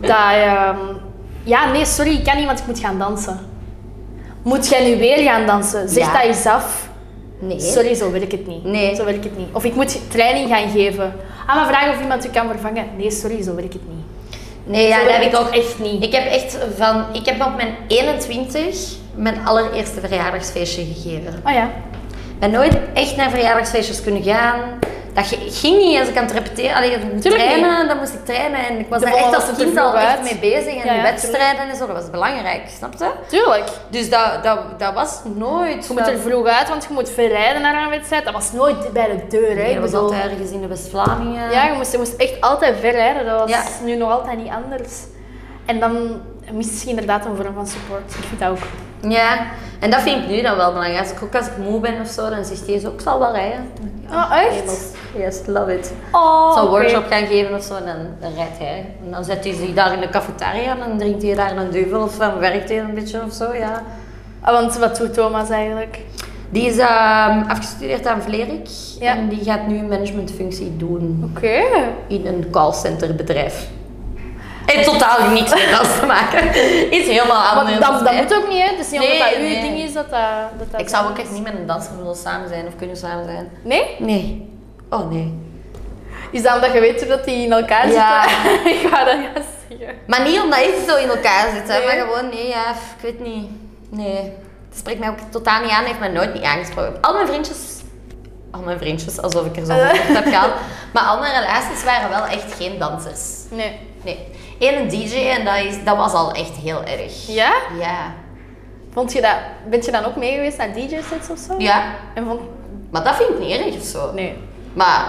S2: Dat, ehm, ja, nee, sorry, ik kan niet, want ik moet gaan dansen. Moet jij nu weer gaan dansen? Zeg
S1: Ja.
S2: dat eens af.
S1: Nee.
S2: Sorry, zo wil ik het niet.
S1: Nee.
S2: Zo wil ik het niet. Of ik moet training gaan geven. Ah, maar vraag of iemand u kan vervangen. Nee, sorry, zo wil ik het niet.
S1: Nee, ja,
S2: zo
S1: dat
S2: wil
S1: heb ik
S2: het
S1: ook
S2: echt niet.
S1: Ik heb echt van, ik heb op mijn 21 mijn allereerste verjaardagsfeestje gegeven.
S2: Oh ja.
S1: Ik ben nooit echt naar verjaardagsfeestjes kunnen gaan. Dat ge- ging niet eens, ik aan het repeteren. Allee, ik moest
S2: Tuurlijk
S1: trainen, dan moest ik trainen. En ik was
S2: De
S1: daar echt
S2: ballen
S1: als
S2: was er
S1: kind
S2: vroeg
S1: al echt
S2: uit.
S1: mee bezig. En
S2: Ja, ja,
S1: wedstrijden en zo, dat was belangrijk, snap je?
S2: Tuurlijk.
S1: Dus dat, dat, dat was nooit...
S2: Je moet er vroeg uit, want je moet verrijden naar een wedstrijd. Dat was nooit bij de deur, hè?
S1: Nee,
S2: Ik
S1: dat was
S2: bedoel-
S1: altijd ergens in de West-Vlamingen.
S2: Ja, je moest, je moest echt altijd verrijden. Dat was
S1: Ja.
S2: nu nog altijd niet anders. En dan mist je inderdaad een vorm van support. Ik vind dat ook.
S1: Ja. En dat vind ik nu dan wel belangrijk. Als ik, ook als ik moe ben of zo, dan zegt hij eens ook, ik zal wel rijden.
S2: Oh, echt?
S1: Yes, love it.
S2: Oh,
S1: zal een
S2: oké.
S1: workshop gaan geven of zo en dan, dan rijdt hij. En dan zet hij zich daar in de cafetaria en dan drinkt hij daar een duvel of dan werkt hij een beetje of zo, ja.
S2: Ah, Want wat doet Thomas eigenlijk?
S1: Die is ehm, afgestudeerd aan Vlerik
S2: Ja.
S1: en die gaat nu een managementfunctie doen
S2: Oké.
S1: in een callcenterbedrijf. En totaal niks met dans te maken. Iets helemaal anders.
S2: Ah, Maar dat, dat
S1: hè.
S2: moet ook niet, hè? Het is niet
S1: Nee,
S2: omdat dat uw
S1: nee.
S2: ding is dat dat... dat, dat
S1: Ik zou ook
S2: dat-
S1: echt niet met een danser willen samen zijn of kunnen samen zijn.
S2: Nee?
S1: Nee. Oh nee.
S2: Is dat omdat je weet hoe dat die in elkaar
S1: Ja.
S2: zitten? ik ga dat juist zeggen.
S1: Maar niet omdat ik zo in elkaar zit, hè,
S2: Nee.
S1: maar gewoon, nee, ja, f- ik weet niet. Nee, het spreekt mij ook totaal niet aan, heeft mij nooit niet aangesproken. Al mijn vriendjes, al mijn vriendjes, alsof ik er zo over heb gehad, maar al mijn relaties waren wel echt geen dansers.
S2: Nee.
S1: Nee, één een DJ en dat, is, dat was al echt heel erg.
S2: Ja?
S1: Ja,
S2: Vond je dat... Bent je dan ook mee geweest naar DJ-sets of zo?
S1: ja.
S2: En vond...
S1: maar dat vind ik niet erg of zo.
S2: Nee.
S1: Maar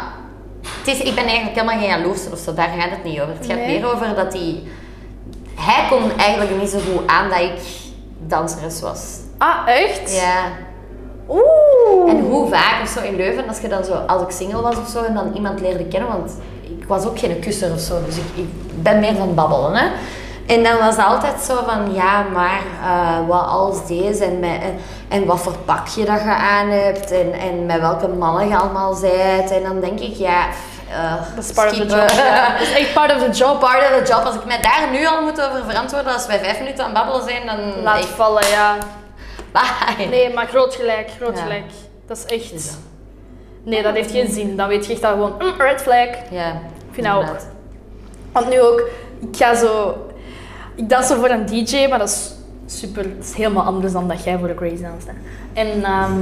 S1: het is, ik ben eigenlijk helemaal geen jaloers of zo, daar gaat het niet over. Het gaat
S2: Nee.
S1: meer over dat hij. Hij kon eigenlijk niet zo goed aan dat ik danseres was.
S2: Ah, echt?
S1: Ja.
S2: Oeh.
S1: En hoe vaak of zo in Leuven, als, je dan zo, als ik single was of zo en dan iemand leerde kennen, want ik was ook geen kusser of zo, dus ik, ik ben meer van babbelen. Hè? En dan was het altijd zo van, ja, maar eh, wat als deze en, met, en, en wat voor pakje dat je aan hebt en, en met welke mannen je allemaal bent. En dan denk ik, ja, pff, eh,
S2: Dat is part of the
S1: skippen.
S2: job. ja. Dat is echt part of the job.
S1: Job, part of the job. Als ik mij daar nu al moet over verantwoorden, als wij vijf minuten aan het babbelen zijn, dan...
S2: Laat
S1: echt,
S2: vallen, ja.
S1: bye.
S2: Nee, maar groot gelijk, groot
S1: Ja.
S2: gelijk. Dat is echt... Nee, dat heeft geen zin. Dan weet je echt dat gewoon, mm, red flag.
S1: Ja.
S2: vind dat ook.
S1: inderdaad.
S2: Want nu ook, ik ga zo... Ik dans zo voor een DJ, maar dat is super... Dat is helemaal anders dan dat jij voor de Grace danst. hè. En ehm,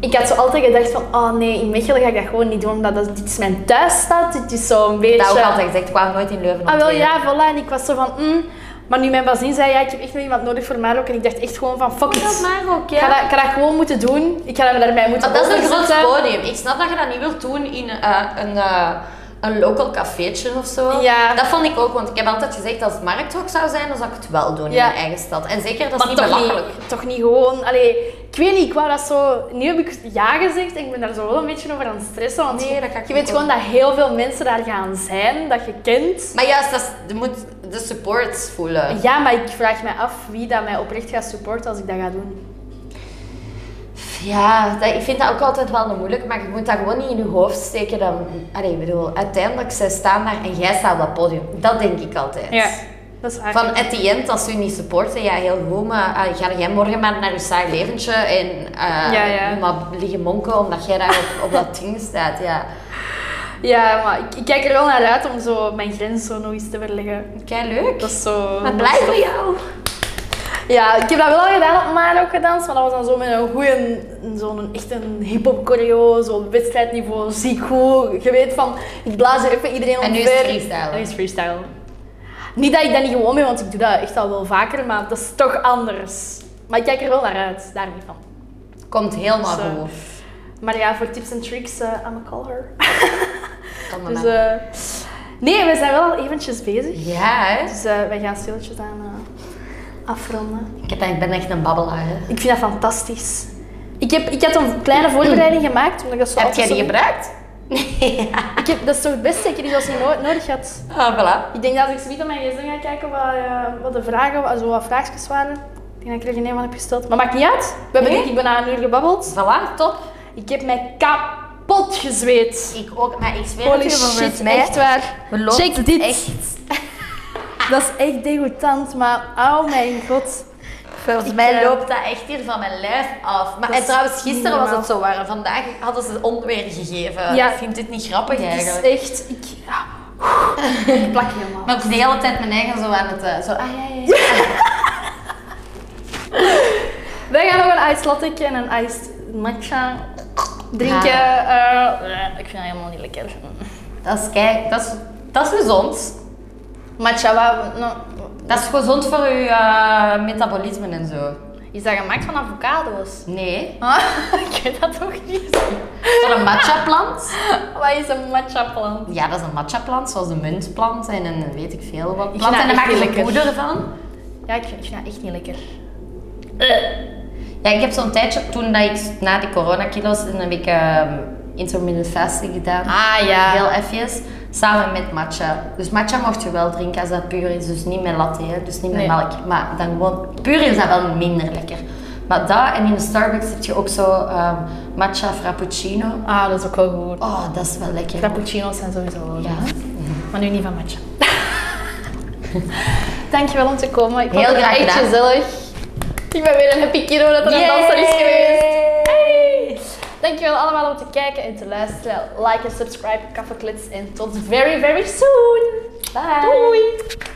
S2: ik had zo altijd gedacht van, oh nee, in Mechelen ga ik dat gewoon niet doen, omdat dat, dit is mijn thuisstad. Dit is zo een beetje...
S1: Dat ook altijd gezegd, ik kwam nooit in Leuven
S2: Ah wel,
S1: optreden.
S2: ja, voilà. En ik was zo van, mm. Maar nu mijn bazin zei, ja, ik heb echt nog iemand nodig voor Marok. En ik dacht echt gewoon van, fuck it.
S1: Dat maar ook, ja.
S2: Ik ga, dat, ik ga dat gewoon moeten doen. Ik ga dat daarbij moeten
S1: Maar dat is een groot
S2: overzetten.
S1: podium. Ik snap dat je dat niet wilt doen in eh, een, eh, een local cafeetje of zo.
S2: Ja.
S1: Dat vond ik ook, want ik heb altijd gezegd als het markthok zou zijn, dan zou ik het wel doen
S2: Ja.
S1: in mijn eigen stad. En zeker, dat is
S2: Maar
S1: niet
S2: toch
S1: belachelijk.
S2: niet, toch niet gewoon... Allee, ik weet niet, ik wou dat zo... Nu heb ik ja gezegd en ik ben daar zo wel een beetje over aan het stressen. Want
S1: Nee, dat ga ik
S2: je
S1: niet
S2: weet gewoon dat heel veel mensen daar gaan zijn, dat je kent.
S1: Maar juist, dat is- je moet de support voelen.
S2: Ja, maar ik vraag me af wie dat mij oprecht gaat supporten als ik dat ga doen.
S1: Ja, dat, ik vind dat ook altijd wel moeilijk, maar je moet dat gewoon niet in je hoofd steken. Dan, allee, ik bedoel, uiteindelijk, zij staan daar en jij staat op dat podium. Dat denk ik altijd.
S2: dat is waar.
S1: Van at the end, als ze u niet supporten, ja heel goed, maar eh, ga jij morgen maar naar je saai leventje en eh,
S2: Ja, ja.
S1: maar liggen monken omdat jij daar op, op dat ding staat. Ja.
S2: Ja, maar ik, ik kijk er wel naar uit om zo mijn grens zo nog eens te verleggen.
S1: Kei leuk.
S2: Dat is zo...
S1: Maar blij voor jou.
S2: Ja, ik heb dat wel gedaan op Maro ook gedanst, maar dat was dan zo met een goede, zo'n echt een hip-hop choreo, zo'n wedstrijdniveau, ziek goed. Je weet van, ik blaas er even iedereen
S1: En nu is
S2: omver.
S1: het freestyle.
S2: En nu is het freestyle. Niet dat ik dat niet gewoon ben, want ik doe dat echt al wel vaker, maar dat is toch anders. Maar ik kijk er wel naar uit, daar niet van.
S1: Komt helemaal
S2: Zo.
S1: goed.
S2: Maar ja, voor tips en tricks, eh I'm a call her.
S1: Kan maar
S2: Dus,
S1: maar.
S2: eh, nee, we zijn wel al eventjes bezig.
S1: Ja, hè.
S2: Dus eh, wij gaan stilletjes aan eh, afronden.
S1: Ik, heb, ik ben echt een babbelaar. Hè.
S2: Ik vind dat fantastisch. Ik, heb, ik had een kleine voorbereiding gemaakt. Omdat ik dat zo
S1: Heb
S2: altijd
S1: jij die
S2: zo-
S1: gebruikt? Nee.
S2: Ik heb, dat is toch het beste, ik heb die zelfs niet no- nodig had.
S1: Ah, voilà.
S2: Ik denk dat als ik zo niet op mijn gsm ga kijken wat, eh, wat de vragen, wat, zo wat vraagjes waren. Ik denk dat ik er geen een van heb gesteld. Maar maakt niet uit. We hebben
S1: Nee?
S2: denk ik bijna een uur gebabbeld.
S1: Voilà, top.
S2: Ik heb mij kapot gezweet.
S1: Ik ook, maar ik zweer
S2: Holy
S1: het u, volgens
S2: shit,
S1: mij
S2: echt waar.
S1: belooft
S2: Check dit.
S1: Echt.
S2: Dat is echt degoutant, maar oh mijn god.
S1: Volgens
S2: Ik,
S1: mij
S2: eh,
S1: loopt dat echt hier van mijn lijf af. Maar
S2: Dat
S1: en
S2: is
S1: trouwens,
S2: niet
S1: gisteren was
S2: normaal.
S1: het zo warm. Vandaag hadden ze onweer gegeven.
S2: Ja.
S1: Ik vind dit niet grappig
S2: Het is
S1: eigenlijk.
S2: echt... Ik, Ah. ik plak helemaal.
S1: Maar ik was de hele tijd mijn eigen zo aan het... eh, zo, ah ja, ja, ja.
S2: Wij gaan nog een ijs latte en een ijs matcha drinken. Eh, eh, ik vind dat helemaal niet lekker.
S1: Dat is kijk, dat is, dat is gezond.
S2: Matcha, wat, nou,
S1: Dat is gezond voor je eh, metabolisme en zo.
S2: is dat gemaakt van avocado's?
S1: Nee.
S2: Ah, ik weet dat toch niet.
S1: Voor een matcha-plant?
S2: Wat is een matcha plant?
S1: Ja, dat is een matcha-plant, zoals een muntplant en een weet ik veel wat
S2: vind
S1: plant.
S2: dat
S1: En daar
S2: echt
S1: maak je
S2: lekker.
S1: een poeder van.
S2: Ja, ik vind, ik vind dat echt niet lekker. Eh.
S1: Ja, ik heb zo'n tijdje, toen dat ik na die coronakilo's, dan heb ik ehm, intermittent fasting gedaan.
S2: Ah ja.
S1: Heel even, samen met matcha. Dus matcha mocht je wel drinken als dat puur is, dus niet met latte, hè, dus niet met
S2: Nee.
S1: melk. Maar dan gewoon, puur is dat wel minder lekker. Maar dat, en in de Starbucks heb je ook zo ehm, matcha frappuccino.
S2: Ah, dat is ook wel goed.
S1: Oh, dat is wel lekker.
S2: Frappuccino's zijn sowieso wel goed,
S1: Ja.
S2: hè? Maar nu niet van matcha. Dankjewel om te komen. Ik vond
S1: Heel
S2: het
S1: graag
S2: echt
S1: gedaan.
S2: gezellig. Ik ben weer een happy kiddo dat er een danser is geweest. Hey! Dankjewel allemaal om te kijken en te luisteren. Like en subscribe, Kaffeeklits. En tot very, very soon.
S1: Bye.
S2: Doei!